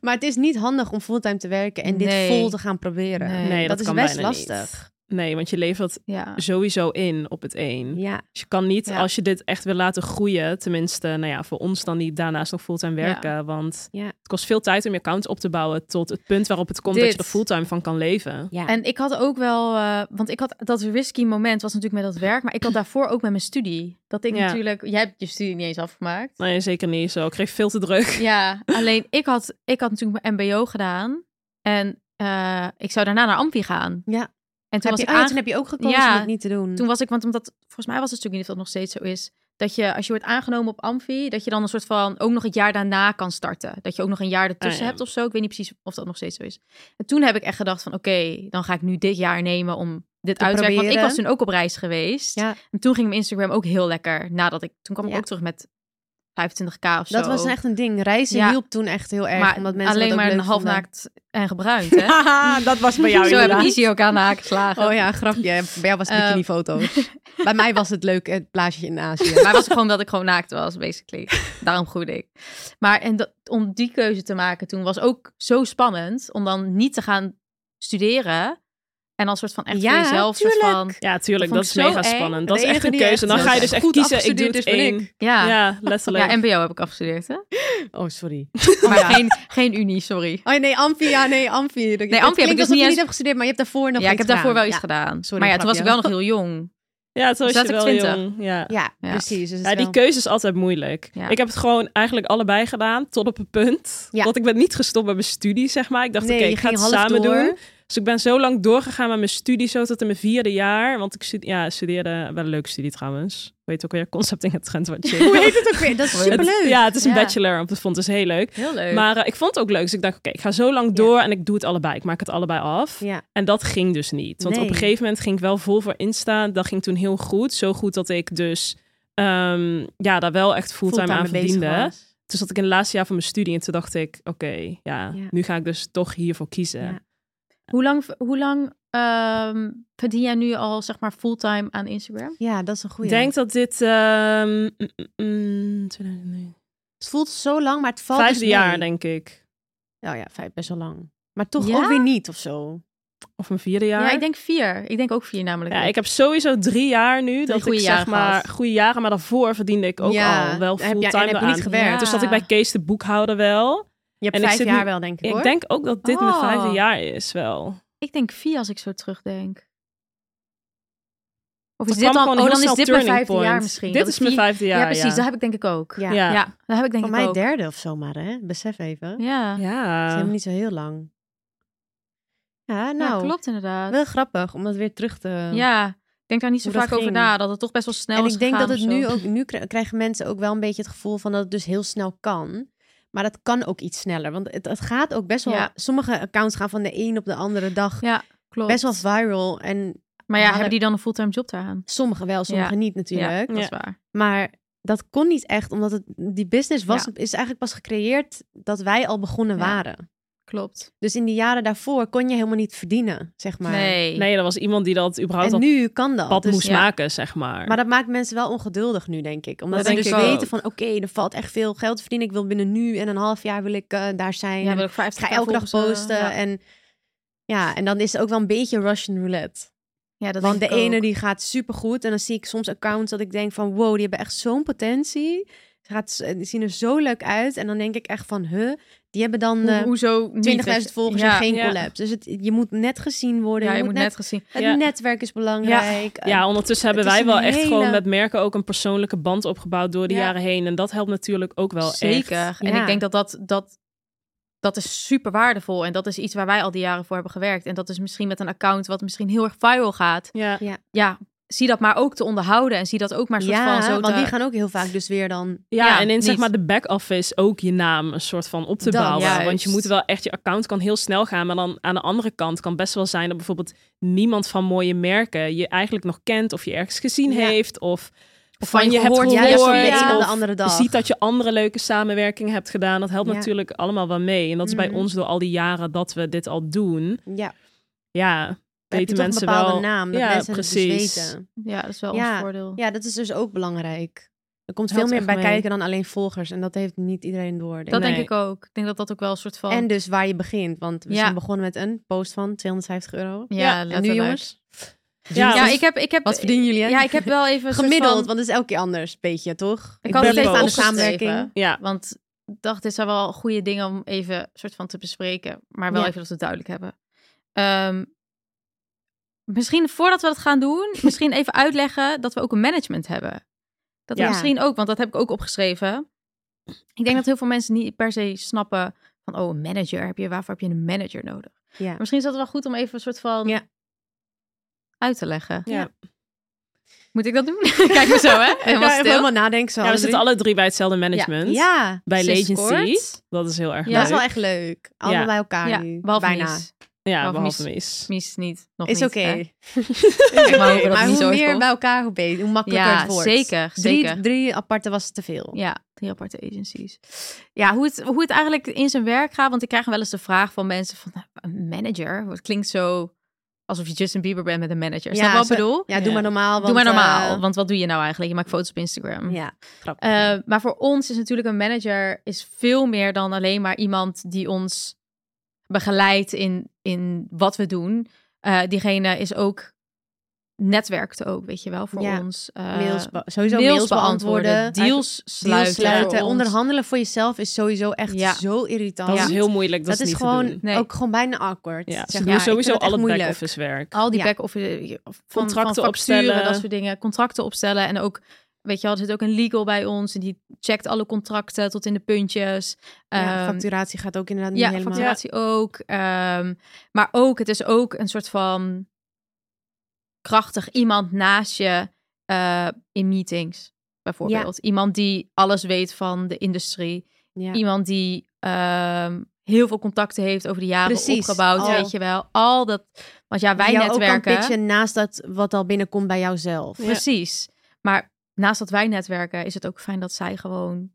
Maar het is niet handig om fulltime te werken en Nee. dit vol te gaan proberen. Nee. nee, dat, dat is kan best bijna lastig. niet. Nee, want je levert ja. sowieso in op het één. Ja, Dus je kan niet, Ja. als je dit echt wil laten groeien, tenminste, nou ja, voor ons dan die daarnaast nog fulltime werken. Want Ja. het kost veel tijd om je account op te bouwen tot het punt waarop het komt dat Dit. je er fulltime van kan leven. ja. En ik had ook wel, eh, want ik had dat risky moment was natuurlijk met dat werk, maar ik had daarvoor ook met mijn studie. Dat ik Ja. natuurlijk, jij hebt je studie niet eens afgemaakt. Nee, zeker niet zo. Ik kreeg veel te druk. Ja, alleen ik had, ik had natuurlijk mijn MBO gedaan en eh, ik zou daarna naar Amfi gaan. Ja. En toen heb, was je, ik oh ja, aange- toen heb je ook gekozen Ja, om het niet te doen. Toen was ik, want omdat, volgens mij was het natuurlijk niet of dat nog steeds zo is, dat je als je wordt aangenomen op Amfi, dat je dan een soort van ook nog het jaar daarna kan starten. Dat je ook nog een jaar ertussen Ah, ja. hebt of zo. Ik weet niet precies of dat nog steeds zo is. En toen heb ik echt gedacht van oké, dan ga ik nu dit jaar nemen om dit Te uit te werken. Want ik proberen. was toen ook op reis geweest. Ja. En toen ging mijn Instagram ook heel lekker. Nadat ik, toen kwam ik Ja. ook terug met 25k of zo. dat was echt een ding. Reizen Ja. hielp toen echt heel erg. maar omdat mensen alleen dat ook maar een leuk vonden. halfnaakt en gebruind, hè? dat was bij zo heb ik Izzy ook aan de haak geslagen. Oh ja, een grapje. Bij jou was het Eh, bikini foto's. bij mij was het leuk, het plaatje in Azië. Maar was het gewoon dat ik gewoon naakt was, basically. Daarom groeide ik. Maar en dat, om die keuze te maken toen was ook zo spannend. Om dan niet te gaan studeren. En dan soort van echt Ja, voor jezelf. Soort tuurlijk. van, Ja, tuurlijk. Dat Dat, is vond ik zo mega eng. spannend. Dat De is echt enige een die echt keuze. Dan ga je dus echt goed kiezen. Ik doe afgestudeerd het is, ben één. ik. Ah. ja. ja. Ja, letterlijk. mbo heb ik afgestudeerd, hè? Oh, sorry. Maar geen, geen unie, sorry. Oh nee, Amfi, ja nee, Amfi. Nee, Amfi heb ik dus niet je eens- niet hebt gestudeerd, maar je hebt daarvoor nog ja, ik heb iets daarvoor wel gedaan. iets gedaan. Sorry, maar ja, toen was ik grapje. wel nog heel jong. Ja, toen was dus Zat je ik wel 20? jong. Ja. Ja, Ja. precies. Dus het Ja, is die wel- keuze is altijd moeilijk. Ja. Ik heb het gewoon eigenlijk allebei gedaan, tot op het punt. Ja. Want ik ben niet gestopt met mijn studie, zeg maar. Ik dacht, Nee, oké, je ik ga ging het half samen door. doen. Dus ik ben zo lang doorgegaan met mijn studie, zo tot in mijn vierde jaar. Want ik stude- ja, studeerde, wel een leuke studie trouwens. Weet ook weer, concepting en trend wat Hoe heet het ook weer? Dat is superleuk. Ja, het is een Ja. bachelor, op dat vond dus heel leuk. Heel leuk. Maar eh, ik vond het ook leuk. Dus ik dacht, oké, ik ga zo lang door en ik doe het allebei. Ik maak het allebei af. Ja. En dat ging dus niet. Want Nee. op een gegeven moment ging ik wel vol voor Insta. Dat ging toen heel goed. Zo goed dat ik dus ehm, ja, daar wel echt fulltime, Fulltime aan mee bezig verdiende. was. Toen zat ik in het laatste jaar van mijn studie. En toen dacht ik, oké, ja, Ja. nu ga ik dus toch hiervoor kiezen. Ja. Hoe lang, hoe lang ehm, verdien jij nu al, zeg maar, fulltime aan Instagram? Oh Ja, dat is een Ik goede. denk dat dit... ehm, mm, mm, mm, 2009. het voelt zo lang, maar het valt dus Vijfde mee. jaar, denk ik. Oh ja, vijf, best wel lang. Maar toch Ja? ook weer niet of zo. Of een vierde jaar. Ja, ik denk vier. Ik denk ook vier namelijk. Ja, ik heb sowieso drie jaar nu. dat goede ik jaren zeg maar gehad. goede jaren, maar daarvoor verdiende ik ook Ja, al wel heb je- en fulltime heb je eraan. niet gewerkt. Dus dat ik bij Kees de boekhouder wel. Je hebt En ik vijf zit jaar nu- wel, denk ik hoor. Ik denk ook dat dit mijn Oh. vijfde jaar is wel. Ik denk vier als ik zo terugdenk. Of is Dat dit kwam dan, gewoon oh, heel snel dan is dit mijn turning vijfde jaar point. misschien. Dit Dat is ik mijn vier- vijfde jaar. Ja, precies. Dat heb ik denk ik ook. Ja. Ja. Ja, dat heb ik denk Van ik mij ook. derde of zo maar, hè? Besef even. Het Ja. Nou, Ja, is Ja. helemaal niet zo heel lang. Ja, nou. klopt inderdaad. Wel grappig om dat weer terug te... Ja, ik denk daar niet zo Hoe dat vaak over ging. na. Dat het toch best wel snel en is ik denk dat gegaan het of zo. nu ook... Nu kri- krijgen mensen ook wel een beetje het gevoel van dat het dus heel snel kan. Maar dat kan ook iets sneller. Want het, het gaat ook best wel... Ja. Sommige accounts gaan van de een op de andere dag Ja, klopt. best wel viral. En maar ja, halen- hebben die dan een fulltime job daaraan? sommige wel, sommige niet natuurlijk. Ja, dat is waar. Maar dat kon niet echt, omdat het, die business was, Ja. is eigenlijk pas gecreëerd dat wij al begonnen Ja. waren. Klopt. Dus in die jaren daarvoor kon je helemaal niet verdienen, zeg maar. nee. Nee, er was iemand die dat überhaupt En dat nu kan dat. pad Dus- moest ja. maken, zeg maar. Maar dat maakt mensen wel ongeduldig nu, denk ik. Omdat Dat ze denk dus ik ook. weten van, oké, er valt echt veel geld te verdienen. Ik wil binnen nu en een half jaar wil ik eh, daar zijn. Ja, En wil ik ik eh, 50 ga elke dag posten. En ja, en dan is het ook wel een beetje Russian roulette. Ja, dat Want de denk ik ook. ene die gaat supergoed. En dan zie ik soms accounts dat ik denk van, wow, die hebben echt zo'n potentie. Ze gaat, die zien er zo leuk uit. En dan denk ik echt van, huh, die hebben dan... Hoe- eh, hoezo niet, 20.000 weet je? volgers ja. en geen ja. collabs. Dus het, je moet net gezien worden. Ja, je moet net gezien. het Ja. netwerk is belangrijk. Ja, ondertussen hebben eh, Het is wij wel een echt hele- gewoon met merken ook een persoonlijke band opgebouwd door de Ja. jaren heen. En dat helpt natuurlijk ook wel Zeker. echt. En Ja. ik denk dat dat, dat dat is super waardevol. En dat is iets waar wij al die jaren voor hebben gewerkt. En dat is misschien met een account wat misschien heel erg viral gaat. Ja. Ja, zie dat maar ook te onderhouden. En zie dat ook maar soort Ja, van zo want te... die gaan ook heel vaak dus weer dan... Ja, Ja, en in zeg niet. maar de back-office ook je naam een soort van op te Dat, bouwen. juist. Want je moet wel echt, je account kan heel snel gaan. Maar dan aan de andere kant kan best wel zijn dat bijvoorbeeld niemand van mooie merken je eigenlijk nog kent. Of je ergens gezien Ja. heeft. Of, Of van je hebt gehoord, Ja, juist van van de ja. ene op of de andere je dag. ziet dat je andere leuke samenwerkingen hebt gedaan. Dat helpt Ja. natuurlijk allemaal wel mee. En dat is bij Mhm. ons door al die jaren dat we dit al doen. Ja, Ja, dan heb je weten toch een mensen bepaalde wel. naam, dat ja, mensen het precies. dus weten. Ja, dat is wel Ja. ons voordeel. Ja, dat is dus ook belangrijk. Er komt veel Helpt meer echt bij mee. kijken dan alleen volgers. En dat heeft niet iedereen door. denk Dat ik. Nee. denk ik ook. Ik denk dat dat ook wel een soort van... En dus waar je begint. Want we Ja. zijn begonnen met een post van 250 euro. ja, Ja, en En nu letterlijk. jongens, dus Ja, dus Ja, want- ik heb... Ik heb wat verdienen jullie? Hè? Ja, ik heb wel even een soort Gemiddeld, van- want het is elke keer anders, beetje toch? Ik had ben het even boos. aan de Opgeschreven. samenwerking. ja, Want ik dacht, dit zijn wel goede dingen om even soort van te bespreken. Maar wel Ja. even dat we het duidelijk hebben. Ehm, misschien voordat we dat gaan doen, misschien even uitleggen dat we ook een management hebben. Dat we Ja. misschien ook, want dat heb ik ook opgeschreven. Ik denk dat heel veel mensen niet per se snappen van, oh, een manager heb je, waarvoor heb je een manager nodig? Ja. Maar misschien is dat wel goed om even een soort van Ja. uit te leggen. Ja. Moet ik dat doen? Kijk maar zo, hè? Helemaal ja, even stil. helemaal nadenken. Zo, Ja, we zitten alle drie bij hetzelfde management. Ja, Bij Sinds Latency. kort. Dat is heel erg Ja. leuk. dat is wel echt leuk. Allemaal Ja. bij elkaar Ja, nu. behalve Bijna. Mies. Ja, Behalve behalve mis. Mies niet. Nog Is niet, oké. hè? Oké, maar hopen dat maar het niet hoe zo meer uitkomt. bij elkaar, hoe beter. Hoe makkelijker Ja, het wordt. zeker, Drie, zeker. drie aparte was te veel. Ja, drie aparte agencies. Ja, hoe het, hoe het eigenlijk in zijn werk gaat. Want ik krijg wel eens de vraag van mensen van... nou, Een manager? Het klinkt zo alsof je Justin Bieber bent met een manager. Snap je Ja, wat ik zo- bedoel? Ja, doe maar normaal. Doe want, maar normaal. eh, want wat doe je nou eigenlijk? Je maakt foto's op Instagram. ja. Eh, maar voor ons is natuurlijk een manager is veel meer dan alleen maar iemand die ons begeleidt in, in wat we doen. Eh, diegene is ook netwerkt ook, weet je wel, voor Ja. ons. Eh, mails, be- sowieso mails, beantwoorden. Eigenlijk deals sluiten, deals sluiten. voor ons. Onderhandelen voor jezelf is sowieso echt Ja. zo irritant. Dat is heel moeilijk. Dat, Dat is niet te gewoon doen. Nee. ook gewoon bijna awkward. Ja, ze zeg doen maar. Ik sowieso vind dat echt alle moeilijk. back-office werk. Al die Ja. back-office, van- van, Contracten van facturen, opstellen. dat soort dingen. Contracten opstellen en ook, weet je wel, er zit ook een legal bij ons. En die checkt alle contracten tot in de puntjes. Ja, Ehm, facturatie gaat ook inderdaad ja, niet helemaal. facturatie ook. Ehm, maar ook, het is ook een soort van krachtig iemand naast je eh, in meetings, bijvoorbeeld. Iemand die alles weet van de industrie. Ja. Iemand die ehm, heel veel contacten heeft over de jaren Precies, opgebouwd, al. weet je wel. Al dat, want ja, wij Die jou netwerken. Ook kan pitchen naast dat wat al binnenkomt bij jouzelf. Ja. Precies. Maar naast dat wij netwerken, is het ook fijn dat zij gewoon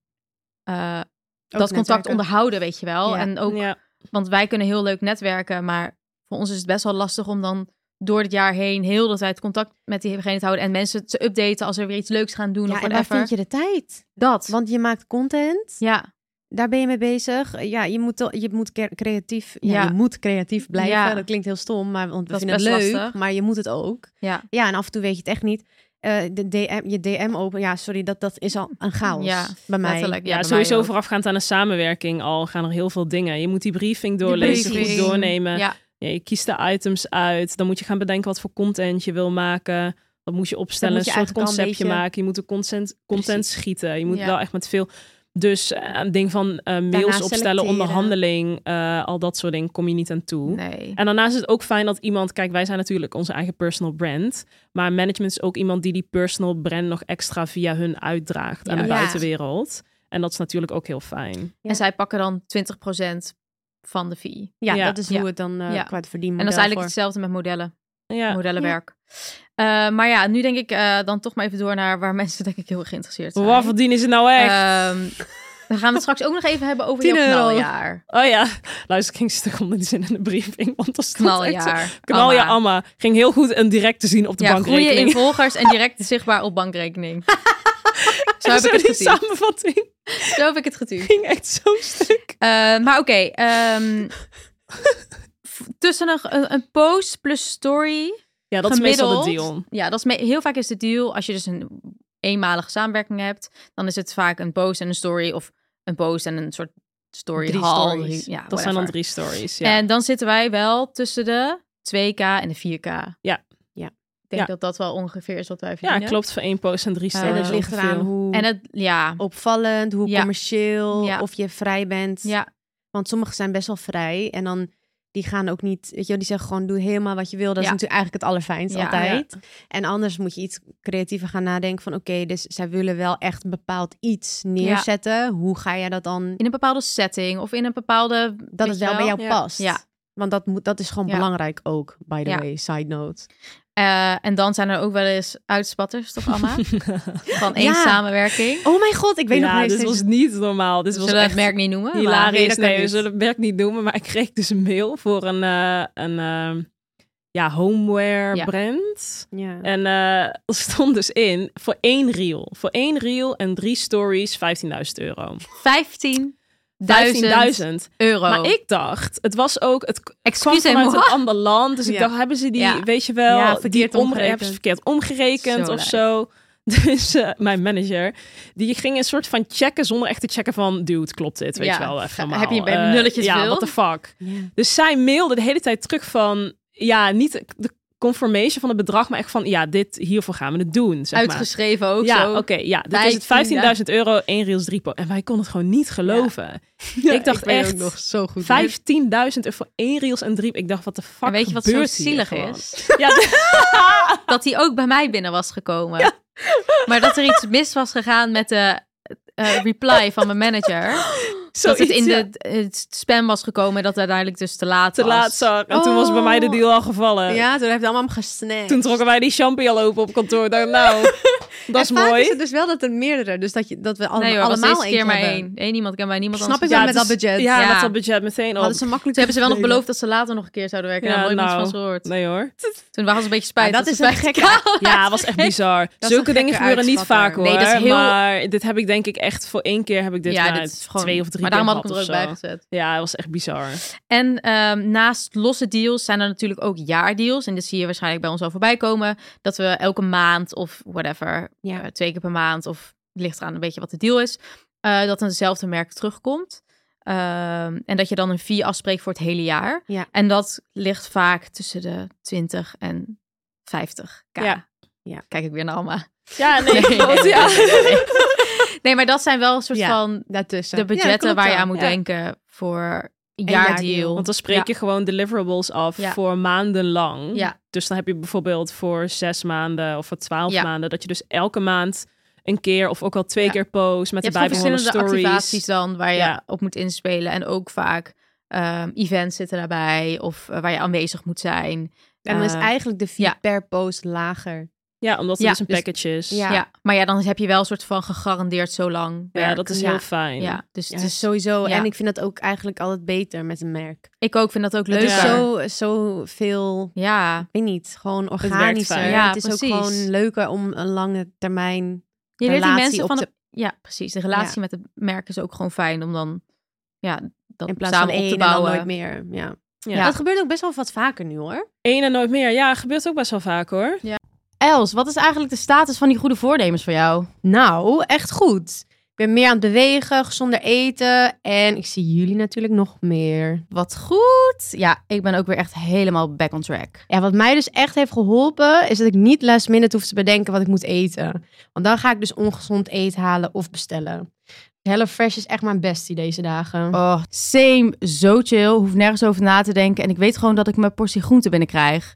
eh, dat contact netwerken. onderhouden, weet je wel. Ja. En ook, Ja. want wij kunnen heel leuk netwerken, maar voor ons is het best wel lastig om dan door het jaar heen heel de tijd contact met diegene te houden en mensen te updaten als er weer iets leuks gaan doen Ja, of en waar whatever. vind je de tijd? Dat. Want je maakt content, ja, daar ben je mee bezig. Ja, je moet, wel- je moet cre- creatief, ja, Ja. je moet creatief blijven. Ja. Dat klinkt heel stom, maar want we Dat is vinden het best leuk, lastig. maar je moet het ook. Ja. ja, en af en toe weet je het echt niet. Eh, de DM, je DM open, ja, sorry, dat, dat is al een chaos Ja, bij mij. letterlijk. Ja, Ja, bij mij sowieso ook. voorafgaand aan een samenwerking al gaan er heel veel dingen. Je moet die briefing Die doorlezen, briefing. goed doornemen. Ja, Ja, je kiest de items uit. Dan moet je gaan bedenken wat voor content je wil maken. Dat moet je opstellen, Dat moet je een soort eigenlijk al een conceptje beetje- maken. Je moet de content, content Precies. schieten. Je moet Ja. wel echt met veel... Dus eh, een ding van eh, mails Daarna opstellen, selecteren. onderhandeling, eh, al dat soort dingen kom je niet aan toe. nee. En daarnaast is het ook fijn dat iemand, kijk, wij zijn natuurlijk onze eigen personal brand, maar management is ook iemand die die personal brand nog extra via hun uitdraagt aan de Ja. buitenwereld. En dat is natuurlijk ook heel fijn. Ja. En zij pakken dan 20% van de fee. Ja, Ja. dat is Ja. hoe het dan eh Ja. qua het verdienmodel En dat is eigenlijk voor- hetzelfde met modellen, Ja, modellenwerk. Eh, maar ja, nu denk ik eh, dan toch maar even door naar waar mensen denk ik heel geïnteresseerd zijn. Wat verdienen ze nou echt? Ehm, dan gaan we het straks ook nog even hebben over 10 jouw euro. knaljaar. Oh ja, luister, ik ging stuk onder die zin in de briefing. Want dat stond echt zo. Knaljaar. Knal je Amma. Amma. Ging heel goed en direct te zien op de ja, groeien in bankrekening. volgers en direct zichtbaar op bankrekening. zo heb Zo ik het die gezien. samenvatting Zo heb ik het getuigd. ging echt zo'n stuk. Eh, maar oké, ehm, f- tussen een, een, een post plus story Ja, dat is meestal de Gemiddeld- deal. Ja, dat is me- heel vaak is de deal als je dus een eenmalige samenwerking hebt, dan is het vaak een post en een story of een post en een soort story Drie haul. stories. Ja, dat zijn whatever. dan drie stories. Ja. En dan zitten wij wel tussen de 2k en de 4k. Ja. Ja. Ik denk Ja. dat dat wel ongeveer is wat wij ja, verdienen. klopt voor één post en drie Eh, stories. en het ligt ongeveer. eraan hoe En het ja, opvallend, hoe Ja. commercieel, Ja. of je vrij bent. ja, Want sommigen zijn best wel vrij. En dan, die gaan ook niet... Weet je, wel, die zeggen gewoon, doe helemaal wat je wil. Dat Ja. is natuurlijk eigenlijk het allerfijnst Ja. altijd. En anders moet je iets creatiever gaan nadenken van... Oké, dus zij willen wel echt een bepaald iets neerzetten. Hoe ga jij dat dan... in een bepaalde setting of in een bepaalde weet Dat het je wel bij jou Ja. past. Ja. Want dat, moet, dat is gewoon Ja. belangrijk ook, by the Ja. way. Side note. Eh, en dan zijn er ook wel eens uitspatters, toch Anna? Van één Ja. samenwerking. Oh mijn god, ik weet nog ja, niet dit was niet normaal. Dit Zullen was we het echt merk niet noemen? maar- hilarisch. dat kan Nee, we niet. zullen het merk niet noemen. Maar ik kreeg dus een mail voor een, eh, een eh, ja, homeware Ja. brand. Ja. En eh, er stond dus in voor één reel. Voor één reel en drie stories 15.000 euro. 15.000 15.000. euro. Maar ik dacht, het was ook, het k- kwam Excuse vanuit me. een ander land. Dus ik Ja. dacht, hebben ze die, Ja. weet je wel, Ja, die verkeerd omre- omgerekend. hebben ze verkeerd omgerekend Zo of lijp. zo. Dus eh, mijn manager, die ging een soort van checken zonder echt te checken van, dude, klopt dit? Weet Ja. je wel, even Heb normaal. je bij Eh, nulletjes Ja, veel? what the fuck. Dus zij mailde de hele tijd terug van, ja, niet de confirmation van het bedrag, maar echt van, ja, dit, hiervoor gaan we het doen, zeg maar. Uitgeschreven ook ja, zo. oké, ja. Dit is het 15.000 euro, één reels, drie po. En wij konden het gewoon niet geloven. ik dacht weet echt, ook nog zo goed. 15.000 euro voor één reels en drie. Ik dacht, wat de fuck En weet je wat zo gebeurt hier zielig gewoon? is? Ja, d- Dat hij ook bij mij binnen was gekomen. Maar dat er iets mis was gegaan met de eh, reply van mijn manager. dat het zoiets, in ja. de het spam was gekomen en dat het uiteindelijk dus te laat Te was. laat zag. En toen was bij mij Oh. de deal al gevallen. eh, ja, toen heeft het allemaal gesnakt. Toen trokken wij die champignon open op kantoor. Ik dacht, nou, dat is en vaak mooi. is het dus wel dat er meerdere, dus dat, je, dat we alle- Nee hoor, was allemaal deze één keer maar hebben. één. Eén iemand kan bij niemand Snap anders. ik wel Ja, met dus- dat budget. Ja, Ja. met dat budget meteen op. Hadden ze makkelijk Toen hebben ze wel nog kunnen beloofd dat ze later nog een keer zouden werken. Ja, Ja, daar heb ik nooit nou, iets van gehoord. Nee hoor. Toen waren ze een beetje spijt. Ja, dat ze is een spijt gekke- kregen. Ja, het was echt bizar. een Zulke dingen gekke gebeuren niet vaak uitspatter. hoor. Nee, dat is heel- Maar dit heb ik denk ik echt voor één keer heb ik dit Ja, maar dit is gewoon... twee of drie maar daarom keer had ik hem er ook gehad bij of zo. gezet. Ja, het was echt bizar. En ehm, naast losse deals zijn er natuurlijk ook jaardeals. En dit zie je waarschijnlijk bij ons al voorbij komen. Dat we elke maand of whatever, Ja. eh, twee keer per maand of het ligt eraan een beetje wat de deal is. eh, dat eenzelfde merk terugkomt. Ehm, en dat je dan een fee afspreekt voor het hele jaar. Ja. En dat ligt vaak tussen de 20 en 50k. Ja. Ja. Kijk ik weer naar Alma. Ja, nee, Nee, klopt, nee, ja. Nee, maar dat zijn wel een soort Ja. van daartussen. de budgetten waar je aan moet denken. denken voor een jaardeal. jaardeal. Want dan spreek je gewoon deliverables af Ja. voor maandenlang. Ja. Dus dan heb je bijvoorbeeld voor zes maanden of voor twaalf Ja. maanden... dat je dus elke maand een keer of ook al twee Ja. keer post... met Je de hebt gewoon bijbehorende verschillende activaties stories. dan waar je Ja. op moet inspelen. En ook vaak ehm, events zitten daarbij of eh, waar je aanwezig moet zijn. En dan is Eh, eigenlijk de fee ja. per post lager. Ja, omdat het Ja, dus een dus- package is. ja. Ja. maar ja, dan heb je wel een soort van gegarandeerd zo lang Ja, werk. dat is Ja. heel fijn. Ja, dus, Ja, dus sowieso. ja. En ik vind dat ook eigenlijk altijd beter met een merk. ik ook vind dat ook leuk. Het is Leuker. zo, zo veel, Ja, ik weet niet, gewoon werkt organischer. fijn. Ja, het is precies. ook gewoon leuker om een lange termijn je leert die relatie mensen op van... te- het- Ja, precies. De relatie Ja. met het merk is ook gewoon fijn om dan ja, dat in plaats samen van op één te en dan eh, bouwen. nooit meer. Ja. Ja. Dat gebeurt ook best wel wat vaker nu hoor. Eén en nooit meer. Ja, gebeurt ook best wel vaak hoor. Els, wat is eigenlijk de status van die goede voornemens voor jou? Nou, echt goed. Ik ben meer aan het bewegen, gezonder eten. En ik zie jullie natuurlijk nog meer. Wat goed. Ja, ik ben ook weer echt helemaal back on track. Ja, wat mij dus echt heeft geholpen, is dat ik niet last minute hoef te bedenken wat ik moet eten. Want dan ga ik dus ongezond eten halen of bestellen. HelloFresh is echt mijn bestie deze dagen. Oh, same. Zo chill. Hoef nergens over na te denken. En ik weet gewoon dat ik mijn portie groente binnenkrijg.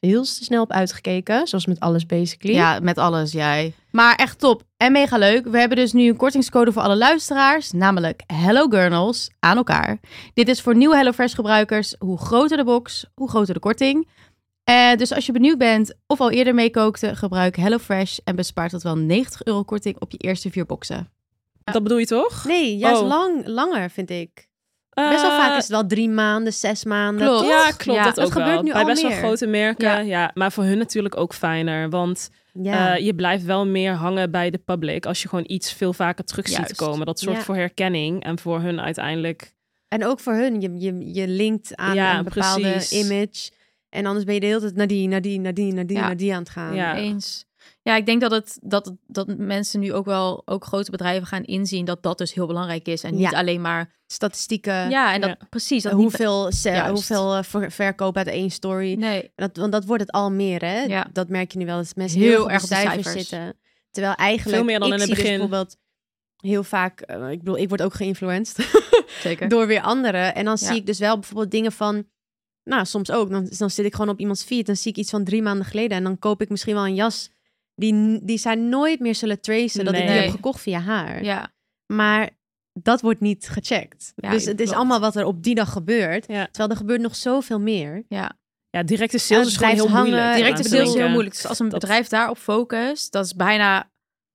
heel te snel op uitgekeken. Zoals met alles basically. Ja, met alles, jij. Maar echt top en mega leuk. We hebben dus nu een kortingscode voor alle luisteraars, namelijk Hello Gurnals aan elkaar. Dit is voor nieuwe HelloFresh gebruikers. Hoe groter de box, hoe groter de korting. Eh, dus als je benieuwd bent of al eerder meekookte, gebruik HelloFresh en bespaart tot wel 90 euro korting op je eerste vier boxen. Dat bedoel je toch? Nee, juist Oh. lang, langer vind ik. Best wel vaak is het wel drie maanden, zes maanden. klopt. toch? Eh, Ja, klopt. Ja, dat, dat ook gebeurt wel. nu Bij al best wel meer. grote merken. Ja. Ja. maar voor hun natuurlijk ook fijner. Want Ja. eh, je blijft wel meer hangen bij de public. Als je gewoon iets veel vaker terug Juist. ziet komen. Dat zorgt Ja. voor herkenning. En voor hun uiteindelijk. En ook voor hun, je, je, je linkt aan Ja, een bepaalde precies. image. En anders ben je de hele tijd naar die, naar die, naar die, naar die, Ja. naar die aan het gaan. Ja. Eens. Ja, ik denk dat, het, dat, dat mensen nu ook wel, ook grote bedrijven gaan inzien dat dat dus heel belangrijk is. En niet Ja. alleen maar. Statistieken, Ja, en dat Ja. precies. Dat eh, niet- hoeveel, se- Juist. hoeveel eh, ver- verkoop uit één story. Nee, Dat, want dat wordt het al meer, hè? Ja. Dat merk je nu wel, dat mensen Heel heel, erg op de cijfers, zitten. Terwijl eigenlijk, Veel meer dan ik in het zie dus begin. bijvoorbeeld heel vaak, eh, ik bedoel, ik word ook geïnfluenced. zeker. door weer anderen. En dan Ja. zie ik dus wel bijvoorbeeld dingen van. Nou, soms ook. Dan, dan zit ik gewoon op iemands feed. Dan zie ik iets van drie maanden geleden. En dan koop ik misschien wel een jas. Die, die zij nooit meer zullen tracen. Dat ik die Nee. heb gekocht via haar. ja, Maar dat wordt niet gecheckt. Ja, dus het is klopt. allemaal wat er op die dag gebeurt. Ja. Terwijl er gebeurt nog zoveel meer. ja. Ja, directe sales het is gewoon blijft heel hangen. moeilijk. Directe Directe te sales is heel bedenken. moeilijk. Dus als een Dat- bedrijf daarop focust, dat is bijna,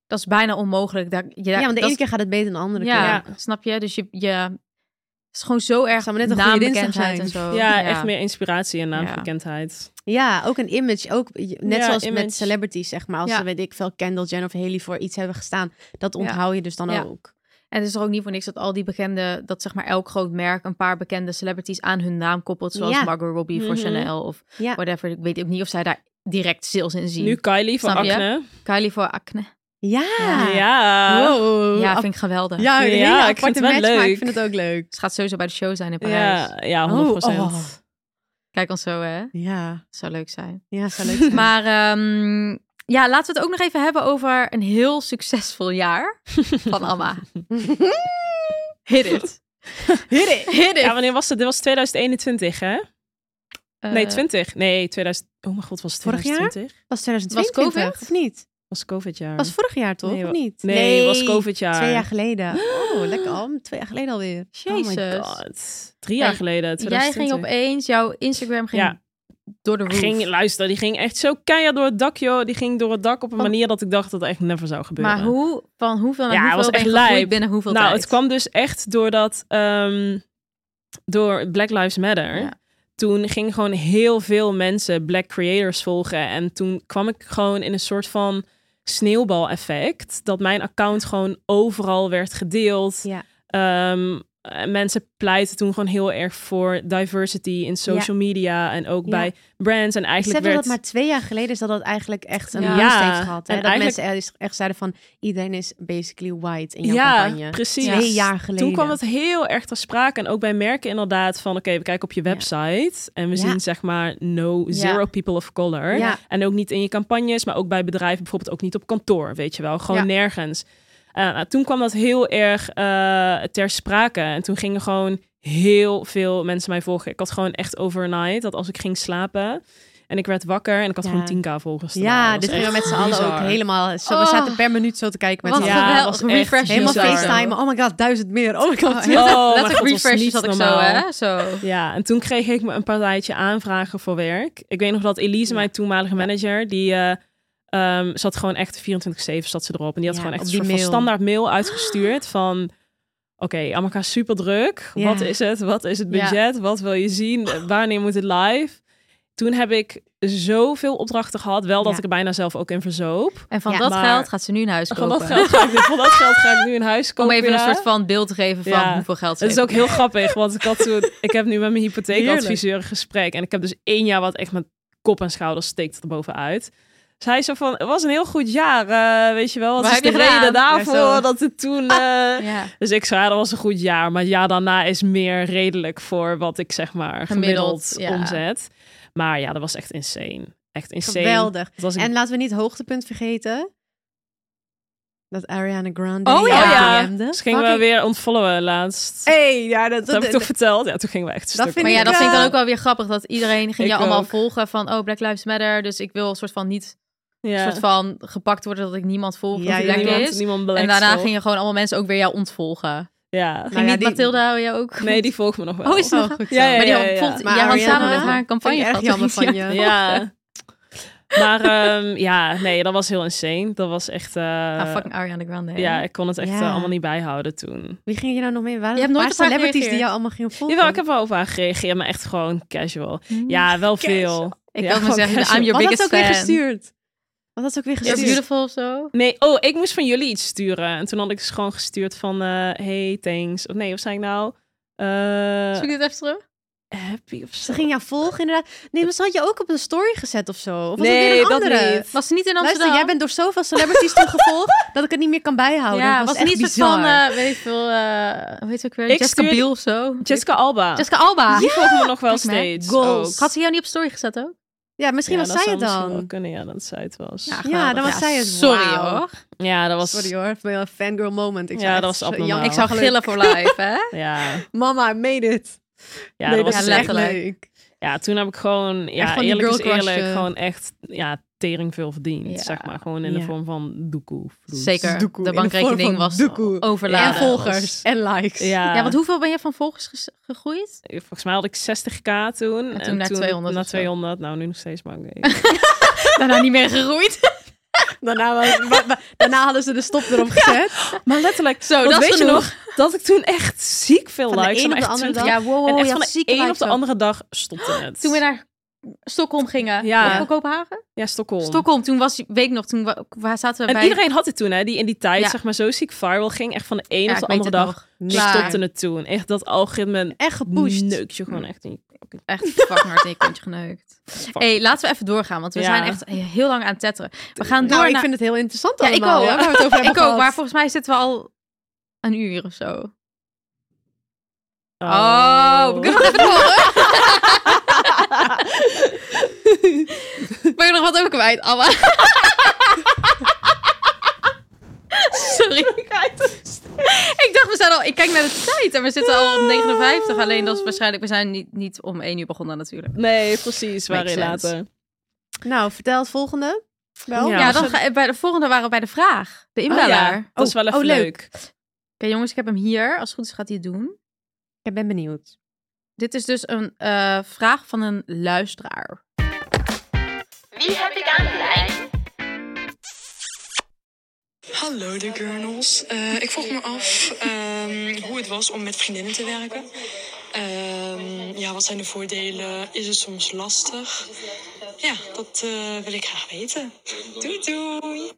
dat is bijna onmogelijk. Daar, je, Ja, want de dat ene is- keer gaat het beter dan de andere ja, keer. snap je? Dus je, je het is gewoon zo erg Zou maar net een goede dinsdag naambekendheid zijn. en zo. Ja, echt meer inspiratie en eh, Ja. naamgekendheid. Ja, ook een image. Ook, je- net Ja, zoals image. met celebrities, zeg maar. Als Ja. ze, weet ik veel, Kendall Jenner of Haley voor iets hebben gestaan. Dat onthoud je dus dan Ja. ook. En het is er ook niet voor niks dat al die bekende, dat zeg maar elk groot merk een paar bekende celebrities aan hun naam koppelt. Zoals Ja. Margot Robbie voor Mhm. Chanel of Ja. whatever. Ik weet ook niet of zij daar direct sales in zien. Nu Kylie van Snap je? Acne. Kylie voor acne. Ja. Ja. Wow. ja, Af- vind ik geweldig. ja, een Oh, Ja, hele ik aparte vind het wel match, maar ik leuk. vind het ook leuk. Ze gaat sowieso bij de show zijn in Parijs. Ja, ja, 100%. Oh, oh. Kijk ons zo, hè. Ja, Zou leuk zijn. ja zou leuk zijn. Maar ehm, ja, laten we het ook nog even hebben over een heel succesvol jaar van Amma. Hit it. Hit it. Hit it. Ja, wanneer was het? Dit was 2021, hè? nee, Eh, 20. Nee, 2000. Oh mijn god, was het Vorig jaar? 2020? was Was 2020 COVID? of niet? Was COVID-jaar. Was vorig jaar toch, Nee, of wa- niet? nee, was COVID-jaar. Twee jaar geleden. Oh, lekker al. Twee jaar geleden alweer. Jezus. Oh my god. Drie jaar dus. Nee, geleden. Jij ging 2020. opeens, jouw Instagram ging Ja. door de roof. Ging, luister, die ging echt zo keihard door het dak, joh. Die ging door het dak op een Van- manier dat ik dacht dat dat echt never zou gebeuren. maar hoe, van hoeveel naar Ja, hoeveel was ben echt je gegroeid lijp. binnen hoeveel Nou, tijd? het kwam dus echt doordat... ehm, door Black Lives Matter. Ja. Toen gingen gewoon heel veel mensen Black creators volgen. En toen kwam ik gewoon in een soort van sneeuwbaleffect. Dat mijn account gewoon overal werd gedeeld. Ja. Ehm, eh, mensen pleiten toen gewoon heel erg voor diversity in social media. En ook Ja. bij brands. En eigenlijk Besef dat werd... dat maar twee jaar geleden is dat dat eigenlijk echt een Ja. ja. Ja, heeft gehad. Hè? en dat eigenlijk- mensen echt zeiden van iedereen is basically white in jouw ja, campagne. precies. Twee jaar geleden. Toen kwam het heel erg ter sprake. En ook bij merken inderdaad van... Oké, we kijken op je website. En we Ja. zien zeg maar no zero people of color. Ja. En ook niet in je campagnes, maar ook bij bedrijven. Bijvoorbeeld ook niet op kantoor, weet je wel. Gewoon Ja. nergens. Eh, nou, toen kwam dat heel erg eh, ter sprake. En toen gingen gewoon heel veel mensen mij volgen. Ik had gewoon echt overnight dat als ik ging slapen... En ik werd wakker en ik had Ja. gewoon 10k volgers. te maken. Ja, Dat was dit gingen we echt met z'n allen ook bizar. helemaal... Zo, We Oh. zaten per minuut zo te kijken met Wat z'n allen. Ja, geweldig. was echt Refresh Helemaal bizar. facetimen. Oh my god, duizend meer. Oh my god. Heel Oh, mijn letterlijk god, was refresh niet zat ik zo, normaal. hè? Zo. Ja, en toen kreeg ik me een partijtje aanvragen voor werk. Ik weet nog dat Elise, mijn toenmalige manager, die eh, ehm, zat gewoon echt 24-7 zat ze erop. En die had Ja, gewoon echt op een die soort van mail. standaard mail uitgestuurd van... Oké, Amaka super druk. Ja. Wat is het? Wat is het Ja. budget? Wat wil je zien? Eh, Wanneer moet het live? Toen heb ik zoveel opdrachten gehad. Wel dat Ja. ik er bijna zelf ook in verzoop. En van Ja, dat maar- geld gaat ze nu een huis Van kopen. dat, geld ga ik, van dat geld ga ik nu een huis Om kopen. even een ja. soort van beeld te geven van Ja. hoeveel geld ze Het is heeft. ook heel grappig, want ik had toen, ik heb nu met mijn hypotheekadviseur een gesprek en ik heb dus één jaar wat echt mijn kop en schouders steekt er bovenuit. Dus hij zo van, het was een heel goed jaar, eh, weet je wel. Wat Waar is heb de je gedaan? Ah. reden Ja, daarvoor zo. dat het toen... eh, Ja. Dus ik zei, ja, dat was een goed jaar, maar ja, daarna is meer redelijk voor wat ik zeg maar gemiddeld, Gemiddeld, ja. omzet. Maar ja, dat was echt insane. Echt insane. Geweldig. Dat was ik- En laten we niet hoogtepunt vergeten. Dat Ariana Grande Oh die ja. jou Ja. DM'de. Dus gingen we Fucking- weer ontfollowen laatst. Hey, ja, dat, dat heb ik toch verteld? Ja, toen gingen we echt Dat stuk. vind Maar ja, ik, dat eh, vind ik dan ook wel weer grappig. Dat iedereen ging Ik jou allemaal ook. volgen van... Oh, Black Lives Matter. Dus ik wil een soort van niet... Ja. soort van gepakt worden dat ik niemand volg. Ja, dat die ja, black niemand, is. niemand En belet daarna zo. gingen gewoon allemaal mensen ook weer jou ontvolgen. Ja. Nou Ging ja, niet die- Mathilda jou ook? Nee, die volgt me nog wel. Oh, is dat? Oh, goed zo. Ja, ja, maar die ja, had, ja, ja. volgt- Maar jij had Ariana, samen met haar een Vond campagne ik echt gehad, jammer toch? van je. Ja. Maar ehm, ja, nee, dat was heel insane. Dat was echt... eh, Ah, fucking Ariana Grande. hè? ja, ik kon het echt eh, Ja. allemaal niet bijhouden toen. Wie ging je nou nog mee? Waren Je er hebt een nooit paar op haar celebrities die gereageerd. jou allemaal gingen volgen? Jawel, ik heb wel over haar gereageerd, maar echt gewoon casual. Hm. Ja, wel Casual. veel. Ja, Ik wil maar gewoon zeggen, casual. I'm your Wat had biggest ze ook fan. weer gestuurd? Wat had ze ook weer You're gestuurd? beautiful of zo. Nee, oh, ik moest van jullie iets sturen. En toen had ik dus gewoon gestuurd van, eh, hey, thanks. Of nee, wat zei ik nou? Eh, Zoek ik dit even terug? happy of zo. Ze ging jou volgen inderdaad. Nee, maar ze had je ook op een story gezet of zo. Of was Nee, het weer een dat andere? niet. Was ze niet in Amsterdam? Luister, jij bent door zoveel celebrities teruggevolgd dat ik het niet meer kan bijhouden. ja, was dat was het echt niet soort bizar. van, eh, weet ik veel, eh, hoe heet ze ook weer? Ik Jessica stuurde- Biel of zo. Jessica Alba. Jessica Alba. Die volgt me nog wel Kijk me, hè. steeds. Goals. ook. Had ze jou niet op story gezet ook? ja, misschien Ja, was dat zij zou het misschien wel dan. Kunnen, ja, dat zij het was. Ja, Ja, dan was zij het. Sorry Wauw. hoor. dat was... Sorry hoor, voor een fangirl moment. Ik Ja, zou echt dat was zo- abnormaal. jammer. Ik zou Geluk. gillen voor live, hè? Ja, Mama, I made it. ja, nee, dat was is echt- echt letterlijk. leuk. ja, toen heb ik gewoon, ja, Echt gewoon die eerlijk is girlcrush, eerlijk, eh. gewoon echt ja, tering veel verdiend, Ja. zeg maar. Gewoon in de Ja. vorm van doekoe. vloed. Zeker. Doekoe, de in de vorm bankrekening van was doekoe. overladen. en volgers. En likes. Ja, Eh, Ja, want hoeveel ben je van volgers ges- gegroeid? volgens mij had ik 60k toen. En naar 200 naar of zo. 200. Nou, nu nog steeds maar. nee. Daarna niet meer gegroeid. Daarna, was- wa- wa- daarna hadden ze de stop erop gezet. maar letterlijk. Zo, want Oh, dat is weet je genoeg. nog dat ik toen echt ziek veel Van de likes een had, op de echt andere 20. dag. Ja, wow, Oh, en je echt had van de zieke een op likes de ook. andere dag stopte het. Toen we naar Stockholm gingen. Ja. Of Van Kopenhagen? Ja, Stockholm. Stockholm. Toen was, weet ik nog, toen wa- waar zaten we En bij... iedereen had het toen, hè, die in die tijd Ja. zeg maar zo ziek viral ging. Echt van de een Ja, op de ik weet andere het dag nog. Klaar. stopte het toen. Echt dat algoritme Echt gepusht. neukt je gewoon Hm. echt niet. Echt fucking hard in je kontje geneukt. hey, laten we even doorgaan, want we Ja. zijn echt heel lang aan het tetteren. We gaan door Nou, ik naar... vind het heel interessant Ja, ik allemaal. ook. hè, waar we het over hebben Ik ook, gehad. maar volgens mij zitten we al een uur of zo. Oh. Oh, Oh. we kunnen nog even door. ben je nog wat ook kwijt, Amma? Sorry. Ik dacht, we zijn al... Ik kijk naar de tijd en we zitten al op Ah. 59. Alleen dat is waarschijnlijk... We zijn niet, niet om 1 uur begonnen natuurlijk. Nee, precies. Makes Waarin sense. later. Nou, vertel het volgende. Wel. Ja. Ja, dan ga, eh, bij de volgende waren we bij de vraag. De Oh inbeller. ja, dat is wel even oh, leuk. leuk. Oké, jongens, ik heb hem hier. Als het goed is gaat hij het doen. Ik ben benieuwd. Dit is dus een eh, vraag van een luisteraar. Wie heb ik aan de lijn? Hallo de Gurnels. Eh, ik vroeg me af ehm, hoe het was om met vriendinnen te werken. Ehm, ja, wat zijn de voordelen? Is het soms lastig? Ja, dat eh, wil ik graag weten. Doei doei!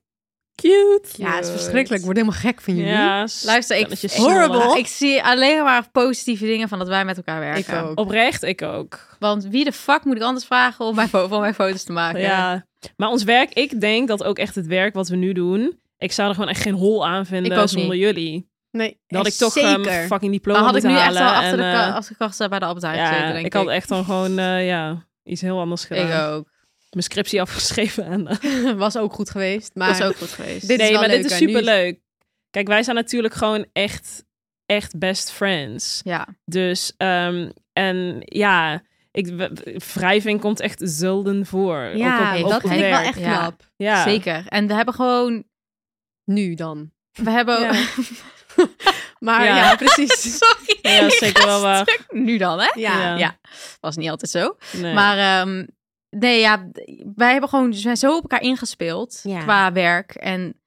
Cute. Ja, het is verschrikkelijk. Ik word helemaal gek van jullie. Ja, Hm. Luister, ik, spelletjes ik- snorren. Horrible. ik zie alleen maar positieve dingen van dat wij met elkaar Ik werken. ook. Oprecht, ik ook. Want wie de fuck moet ik anders vragen om mijn, fo- van mijn foto's te maken? Ja. Maar ons werk, ik denk dat ook echt het werk wat we nu doen. Ik zou er gewoon echt geen hol aan Ik ook vinden zonder niet. jullie. Nee, Dan had ik echt toch eh, zeker. mijn fucking diploma Maar had ik moeten nu echt halen. wel achter de, en, ka- eh, achter de kassa bij de Appeltuin ja, gezeten, denk ik ik. had echt dan gewoon eh, ja, iets heel anders gedaan. Ik ook. Mijn scriptie afgeschreven en eh, was ook goed geweest. Maar Dat is ook goed geweest. Dit is nee, wel maar dit leuk, is hè? Nu is- superleuk. Kijk, wij zijn natuurlijk gewoon echt, echt best friends. Ja. Dus, ehm, en ja, ik, w- w- wrijving komt echt zelden voor. Ja, Ook op- ook dat op vind ik wel werk. echt Ja. knap. Ja. zeker. En we hebben gewoon... Nu dan. We hebben... Ja. Maar Ja. ja, precies. Sorry. Ja, ik zeker ga wel waar. stuk. Nu dan, hè? Ja. Ja. ja. Was niet altijd zo. Nee. Maar ehm, nee, ja, wij hebben gewoon, we zijn zo op elkaar ingespeeld Ja. qua werk. En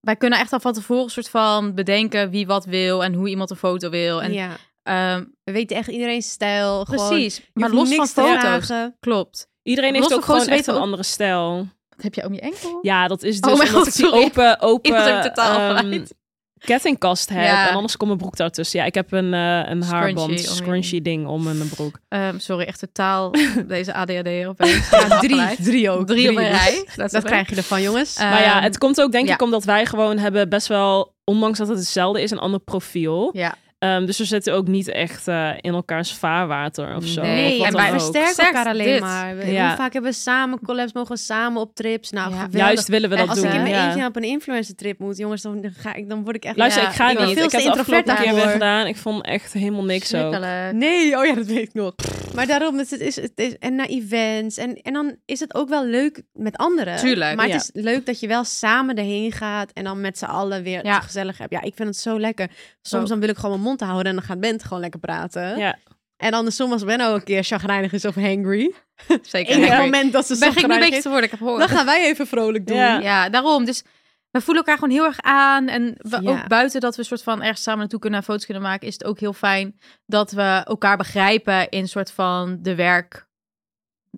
wij kunnen echt al van tevoren soort van bedenken wie wat wil en hoe iemand een foto wil. En, ja. ehm, We weten echt iedereen's stijl. gewoon- precies, Je maar hoeft los van niks te foto's. vragen. Klopt. Iedereen Los heeft van ook gewoon grootste echt een weten ook- andere stijl. Wat heb je om je enkel? Ja, dat is Oh dus mijn omdat God, ik die sorry. open, Ik was ook open totaal ehm, kwijt. kettingkast heb. Ja. En anders komt mijn broek daartussen. Ja, ik heb een, eh, een Scrunchie om haarband, je- scrunchy ding om mijn broek. Ehm, sorry, echt totaal deze ADHD opeens. Ja, drie, drie ook. Drie op een dus. rij. Dat, Dat krijg je ervan, jongens. Ehm, maar ja, het komt ook denk ja. ik omdat wij gewoon hebben best wel, ondanks dat het hetzelfde is, een ander profiel. Ja. Ehm, dus we zitten ook niet echt eh, in elkaars vaarwater of zo. Eh, Nee, of wat en dan wij ook. versterken Sterkt elkaar alleen dit. maar. We- Ja. Hoe vaak hebben we samen collabs, mogen we samen op trips? Nou, Ja. geweldig. Juist willen we dat als doen. ik in mijn ja. eentje op een influencer trip moet, jongens, dan, ga ik, dan word ik echt... Luister, Ja, ik ga ik ben niet. veel Ik te heb de introvert afgelopen keer weer daarvoor. gedaan. Ik vond echt helemaal niks ook. Schrikkelijk. Nee, oh ja, dat weet ik nog. Maar daarom, het is, het is, en naar events. En, en dan is het ook wel leuk met anderen. Tuurlijk, Maar ja. het is leuk dat je wel samen erheen gaat. En dan met z'n allen weer Ja. het gezellig hebt. Ja, ik vind het zo lekker. Soms Ook. dan wil ik gewoon mijn mond houden. En dan gaat Bent gewoon lekker praten. Ja. En andersom als Ben ook een keer chagrijnig is of hangry. Zeker. Enig Ja. moment dat ze Ben ik nu een chagrijnig beetje is. te worden, ik heb gehoord. Dan gaan wij even vrolijk doen. Ja. Ja, daarom. Dus we voelen elkaar gewoon heel erg aan. En we, Ja. ook buiten dat we soort van ergens samen naartoe kunnen en foto's kunnen maken, is het ook heel fijn dat we elkaar begrijpen in soort van de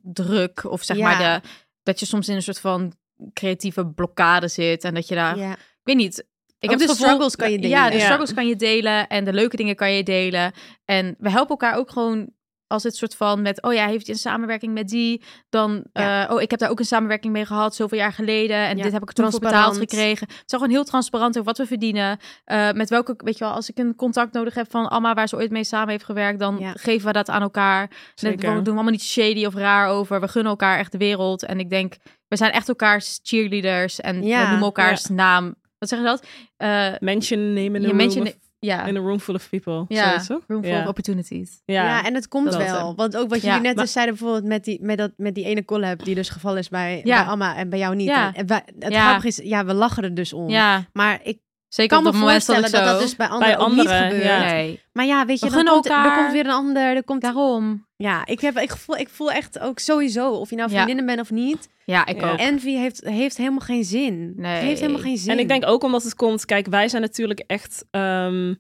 werkdruk. Of zeg Ja. maar de, dat je soms in een soort van creatieve blokkade zit. En dat je daar, Ja. ik weet niet. Ik Ook heb de het gevoel- struggles kan je Ja, delen. de Ja. struggles kan je delen. En de leuke dingen kan je delen. En we helpen elkaar ook gewoon als het soort van met, oh ja, hij heeft een samenwerking met die, dan, Ja. eh, oh, ik heb daar ook een samenwerking mee gehad, zoveel jaar geleden, en Ja, dit heb ik er toen voor transparant. betaald gekregen. Het is gewoon heel transparant over wat we verdienen, eh, met welke, weet je wel, als ik een contact nodig heb van Alma, waar ze ooit mee samen heeft gewerkt, dan Ja. geven we dat aan elkaar. Dat doen Zeker. we doen we allemaal niet shady of raar over, we gunnen elkaar echt de wereld, en ik denk, we zijn echt elkaars cheerleaders, en Ja, we noemen elkaars naam, wat zeggen ze dat? Eh, Mention name in a, je room, mentioned- of- ja, in a room full of people. Ja, Zo is het ook? room for ja. opportunities. Ja. Ja. en het komt Dat is wel. hem. Want ook wat Ja, jullie net maar- dus zeiden, bijvoorbeeld met die, met, dat, met die ene collab die dus gevallen is bij, Ja. bij Amma en bij jou niet. Ja. En wij- het Ja. grappige is, ja, we lachen er dus om. Ja, Maar ik zeker kan op me het moment dat voorstellen ik dat zo... dat dus bij anderen, ook anderen, niet gebeurt. ja. Nee. Maar ja, weet We je, dan gunnen komt, er elkaar. komt weer een ander. Er komt, Daarom. ja, ik, heb, ik, voel, ik voel echt ook sowieso, of je nou Ja. vriendinnen bent of niet. Ja, ik Ja. ook. Envy heeft, heeft helemaal geen zin. Nee. Het heeft helemaal geen zin. En ik denk ook omdat het komt, kijk, wij zijn natuurlijk echt. ehm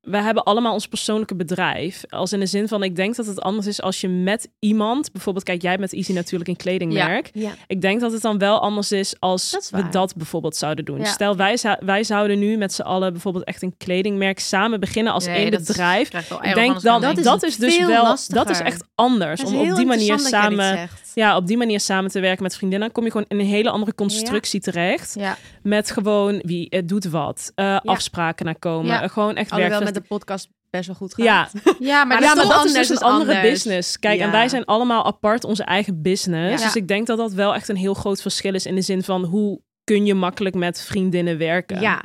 wij hebben allemaal ons persoonlijke bedrijf. Als in de zin van, ik denk dat het anders is als je met iemand, bijvoorbeeld, kijk, jij met Easy natuurlijk een kledingmerk. Ja. Ik denk dat het dan wel anders is als Dat is we waar. dat bijvoorbeeld zouden doen. Ja. Stel, wij, zou- wij zouden nu met z'n allen bijvoorbeeld echt een kledingmerk samen beginnen als Nee, één dat is- bedrijf. krijg wel Ik erg denk anders dan, van dat is, denken. dus veel wel, lastiger. dat is echt anders. Het is Om heel op die manier interessant dat jij dit samen, zegt. ja, op die manier samen te werken met vriendinnen, dan kom je gewoon in een hele andere constructie terecht. Ja. Met gewoon wie het doet wat, eh, afspraken naar komen, Ja. eh, gewoon echt Alhoewel werkvest- met de podcast best wel goed gaat. Ja, Ja, maar, maar, dat ja, maar is toch dat is anders, dus een is andere anders. business. Kijk, Ja. en wij zijn allemaal apart onze eigen business. Ja. Dus ik denk dat dat wel echt een heel groot verschil is in de zin van hoe kun je makkelijk met vriendinnen werken. Ja.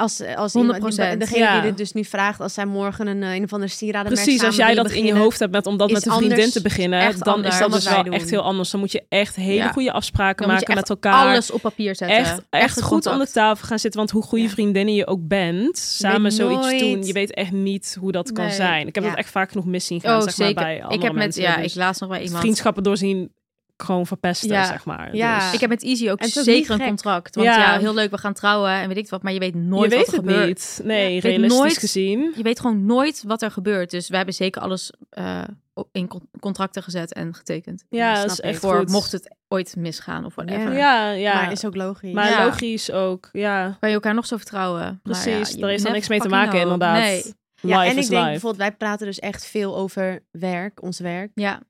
Als, als iemand, die, 100%. degene Ja. die dit dus nu vraagt, als zij morgen een, eh, een of andere sieraden Precies, als jij dat in je hoofd hebt met om dat is met een vriendin anders, te beginnen, echt dan anders is dan dat dus wat wij wel doen. echt heel anders. Dan moet je echt hele Ja. goede afspraken Dan moet je maken met echt elkaar. Alles op papier zetten. echt, echt een goed contact. aan de tafel gaan zitten. Want hoe goede Ja. vriendinnen je ook bent, samen weet zoiets nooit- doen, je weet echt niet hoe dat kan Nee. zijn. Ik heb Ja. dat echt vaak genoeg mis zien gaan, Oh, zeg zeker. maar, bij ik andere heb met, mensen. ja, Dus ik laatst nog bij iemand. Vriendschappen doorzien gewoon verpesten, Ja. zeg maar. Ja. Dus- Ik heb met Easy ook En het is ook niet zeker een gek. contract. Want ja. Ja. heel leuk, we gaan trouwen en weet ik wat. Maar je weet nooit je weet wat er het gebeurt. niet. Nee, Je weet realistisch nooit- gezien. Je weet gewoon nooit wat er gebeurt. Dus we hebben zeker alles eh, op- in con- contracten gezet en getekend. Dus Ja, snap dat is ik. echt Voor goed. mocht het ooit misgaan of whatever. Ja, ja. Maar is ook logisch. Maar Ja. logisch ook, ja. Kan je elkaar nog zo vertrouwen? Maar ja, Precies, je daar is dan never niks mee te fucking maken, know. inderdaad. Nee. ja, Life is en ik denk life. bijvoorbeeld, wij praten dus echt veel over werk, ons werk. Ja.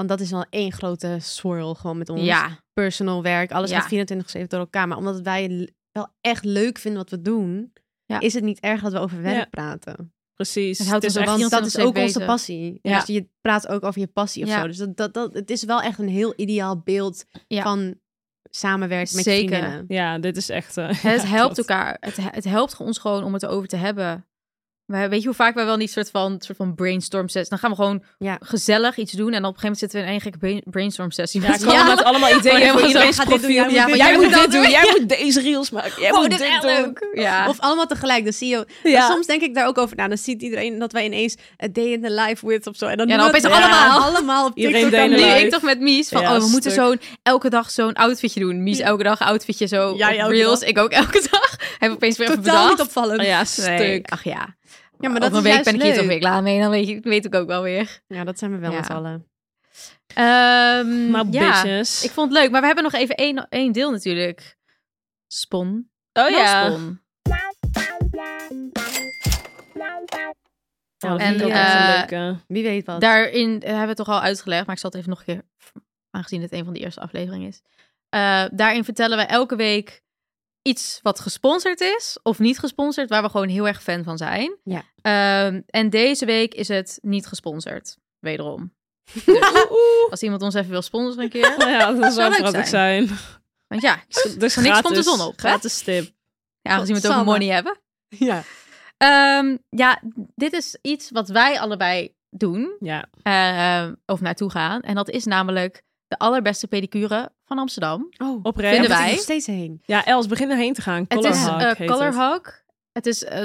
Want dat is al één grote swirl gewoon met ons. Ja. Personal werk, alles Ja. gaat 24-7 door elkaar. Maar omdat wij l- wel echt leuk vinden wat we doen, Ja. is het niet erg dat we over werk Ja. praten. Precies. Het houdt is ons echt- op Want dat is 24/7 ook onze bezig. passie. Ja. Dus je praat ook over je passie of Ja. zo. Dus dat, dat, dat, het is wel echt een heel ideaal beeld Ja. van samenwerken met je Zeker. vriendinnen. Ja, dit is echt... eh, Het ja, helpt dat- elkaar. Het, het helpt ons gewoon om het erover te hebben. Maar weet je hoe vaak wij wel niet soort van, soort van brainstorm sessies... Dan gaan we gewoon Ja. gezellig iets doen. En op een gegeven moment zitten we in één gekke brain- brainstorm sessie. Ja, komen met allemaal ideeën Oh, helemaal voor zo, iedereen's ga dit doen, profiel. jij moet dit jij doen, moet dat dit doen, doen. jij moet deze reels maken, jij moet dit doen. Ja. Of allemaal tegelijk, dan zie je. Ja. Maar soms denk ik daar ook over na. Dan ziet iedereen dat wij ineens a day in the life with of zo. En dan, Ja, doen dan we het opeens allemaal. allemaal op Iedereen TikTok. day in dan the nu nu life. ik toch met Mies van, Ja, oh, we moeten stuk. zo'n, elke dag zo'n outfitje doen. Mies elke dag outfitje zo Jij op elke reels. dag. Ik ook elke dag. Heb ik opeens weer even Totaal niet bedacht. opvallend. Oh ja, Stuk. stuk. Ach ja. Ja, maar Op dat een is week juist ben ik hier toch leuk. weer klaar mee. Dan weet, je- weet ik ook wel weer. Ja, dat zijn we wel Ja. met z'n allen. Ehm, Nou, Maar ja. bitches. Ik vond het leuk, maar we hebben nog even één, één deel natuurlijk. Spon. Nou, oh ja. Spon. Oh, dat En, vind ik ook echt een eh, leuke. Wie weet wat. Daarin eh, hebben we het toch al uitgelegd, maar ik zal het even nog een keer, aangezien het een van de eerste afleveringen is. Eh, daarin vertellen we elke week iets wat gesponsord is of niet gesponsord, waar we gewoon heel erg fan van zijn. Ja. Ehm, en deze week is het niet gesponsord, wederom. Dus, Als iemand ons even wil sponsoren een keer. Nou ja, dat zou zou leuk grappig zijn. Want ja, Dus Voor niks komt de gratis- zon op, hè? Gratis tip. ja aangezien we het over Godsamme. money hebben. Ja. Ehm, ja, dit is iets wat wij allebei doen Ja, eh, of naartoe gaan. En dat is namelijk de allerbeste pedicure van Amsterdam. Oh, oprecht. Vinden wij. nog steeds heen. Ja, Els, begin erheen te gaan. Het Color is Hawk eh heet Color het. Hawk. Het is, eh,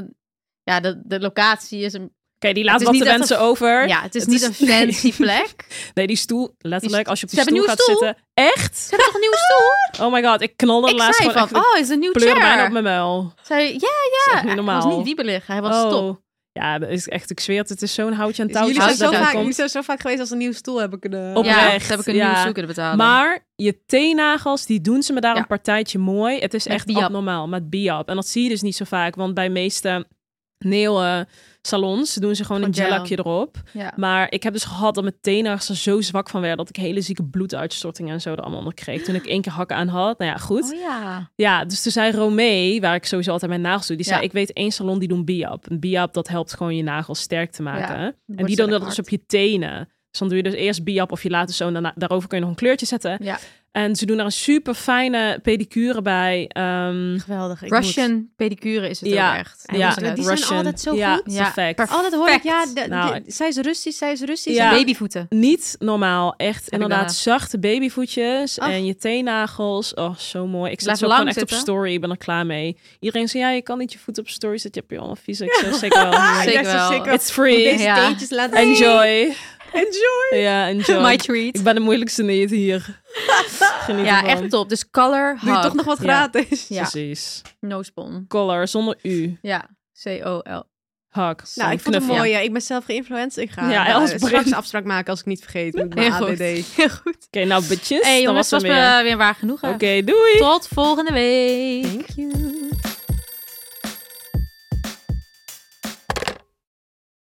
ja, de, de locatie is een... Oké, die laat is wat niet de echt mensen een- over. Ja, het is Het niet is- een fancy nee. plek. Nee, die stoel, letterlijk, als je op die Ze hebben stoel een gaat nieuwe zitten. Echt? Ze hebben toch een nieuwe stoel? Oh my god, ik knalde ik laatst zei gewoon echt. van, oh, is het een nieuw pleur bijna op chair? mijn muil. Zei, ja, echt ja. niet Hij was normaal. Oh, niet wiebelig, hij was top. Ja, dat is echt, ik zweer het, het is zo'n houtje aan Dus jullie, touwtje. zijn als nou dat zo vaak, komt. jullie zijn zo vaak geweest als een nieuwe stoel hebben kunnen... Op- Ja, Oprecht, dat heb ik een ja. nieuwe stoel kunnen betalen. Maar je teennagels, die doen ze me daar Ja. een partijtje mooi. Het is Met echt biap. abnormaal, met biap. En dat zie je dus niet zo vaak, want bij meeste neelsalons salons doen ze gewoon Gewoon een gel. gelakje erop. ja. Maar ik heb dus gehad dat mijn teennagels er zo zwak van werden... dat ik hele zieke bloeduitstortingen en zo er allemaal onder kreeg. Toen ik één keer hakken aan had, nou ja, goed. Oh ja. Ja, dus toen zei Romee, waar ik sowieso altijd mijn nagels doe, die zei: Ja. Ik weet één salon die doen biap. Een biap dat helpt gewoon je nagels sterk te maken. en die ze doen dat lekker dus hard. op je tenen. Dus dan doe je dus eerst biap of je laat het zo en daarna, daarover kun je nog een kleurtje zetten. Ja. En ze doen daar een super fijne pedicure bij. ehm, Geweldig. ik Russian pedicure is het Ja. ook echt. Ja. Absoluut. Die zijn altijd zo ja, goed. Ja, perfect. perfect. Altijd hoor ik, ja, de, Nou, de- zij is Russisch, zij is Russisch. Ja. Babyvoeten. Niet normaal. Echt ik inderdaad daarna. zachte babyvoetjes Ach. en je teennagels. Oh, zo mooi. Ik zet Blijf ze ook lang gewoon echt op zitten. story. Ik ben er klaar mee. Iedereen zei, ja, je kan niet je voet op story zetten. Je hebt je allemaal vies. Ik zeg, zeker wel. Zeker zo wel. zeker. It's free. Deze Ja. teentjes laten Enjoy. Enjoy. Ja, enjoy. My treat. Ik ben de moeilijkste neet hier. Geniet Ja, ervan. echt top. Dus color Doe je Hawk. toch nog wat Ja. gratis. Ja. Precies. No spon. Color zonder u. Ja. C-O-L. Hak. Nou, ik vond het Knuffel. mooi. Ik ben zelf geïnfluenced. Ik ga Ja, nou, Els straks Brink. afspraak maken als ik niet vergeet. Met mijn Heel goed. ADD. Heel goed. Oké, nou bitches. Hey dan was jongens, het was weer. me weer waar genoeg. Oké, doei. Tot volgende week. Thank you.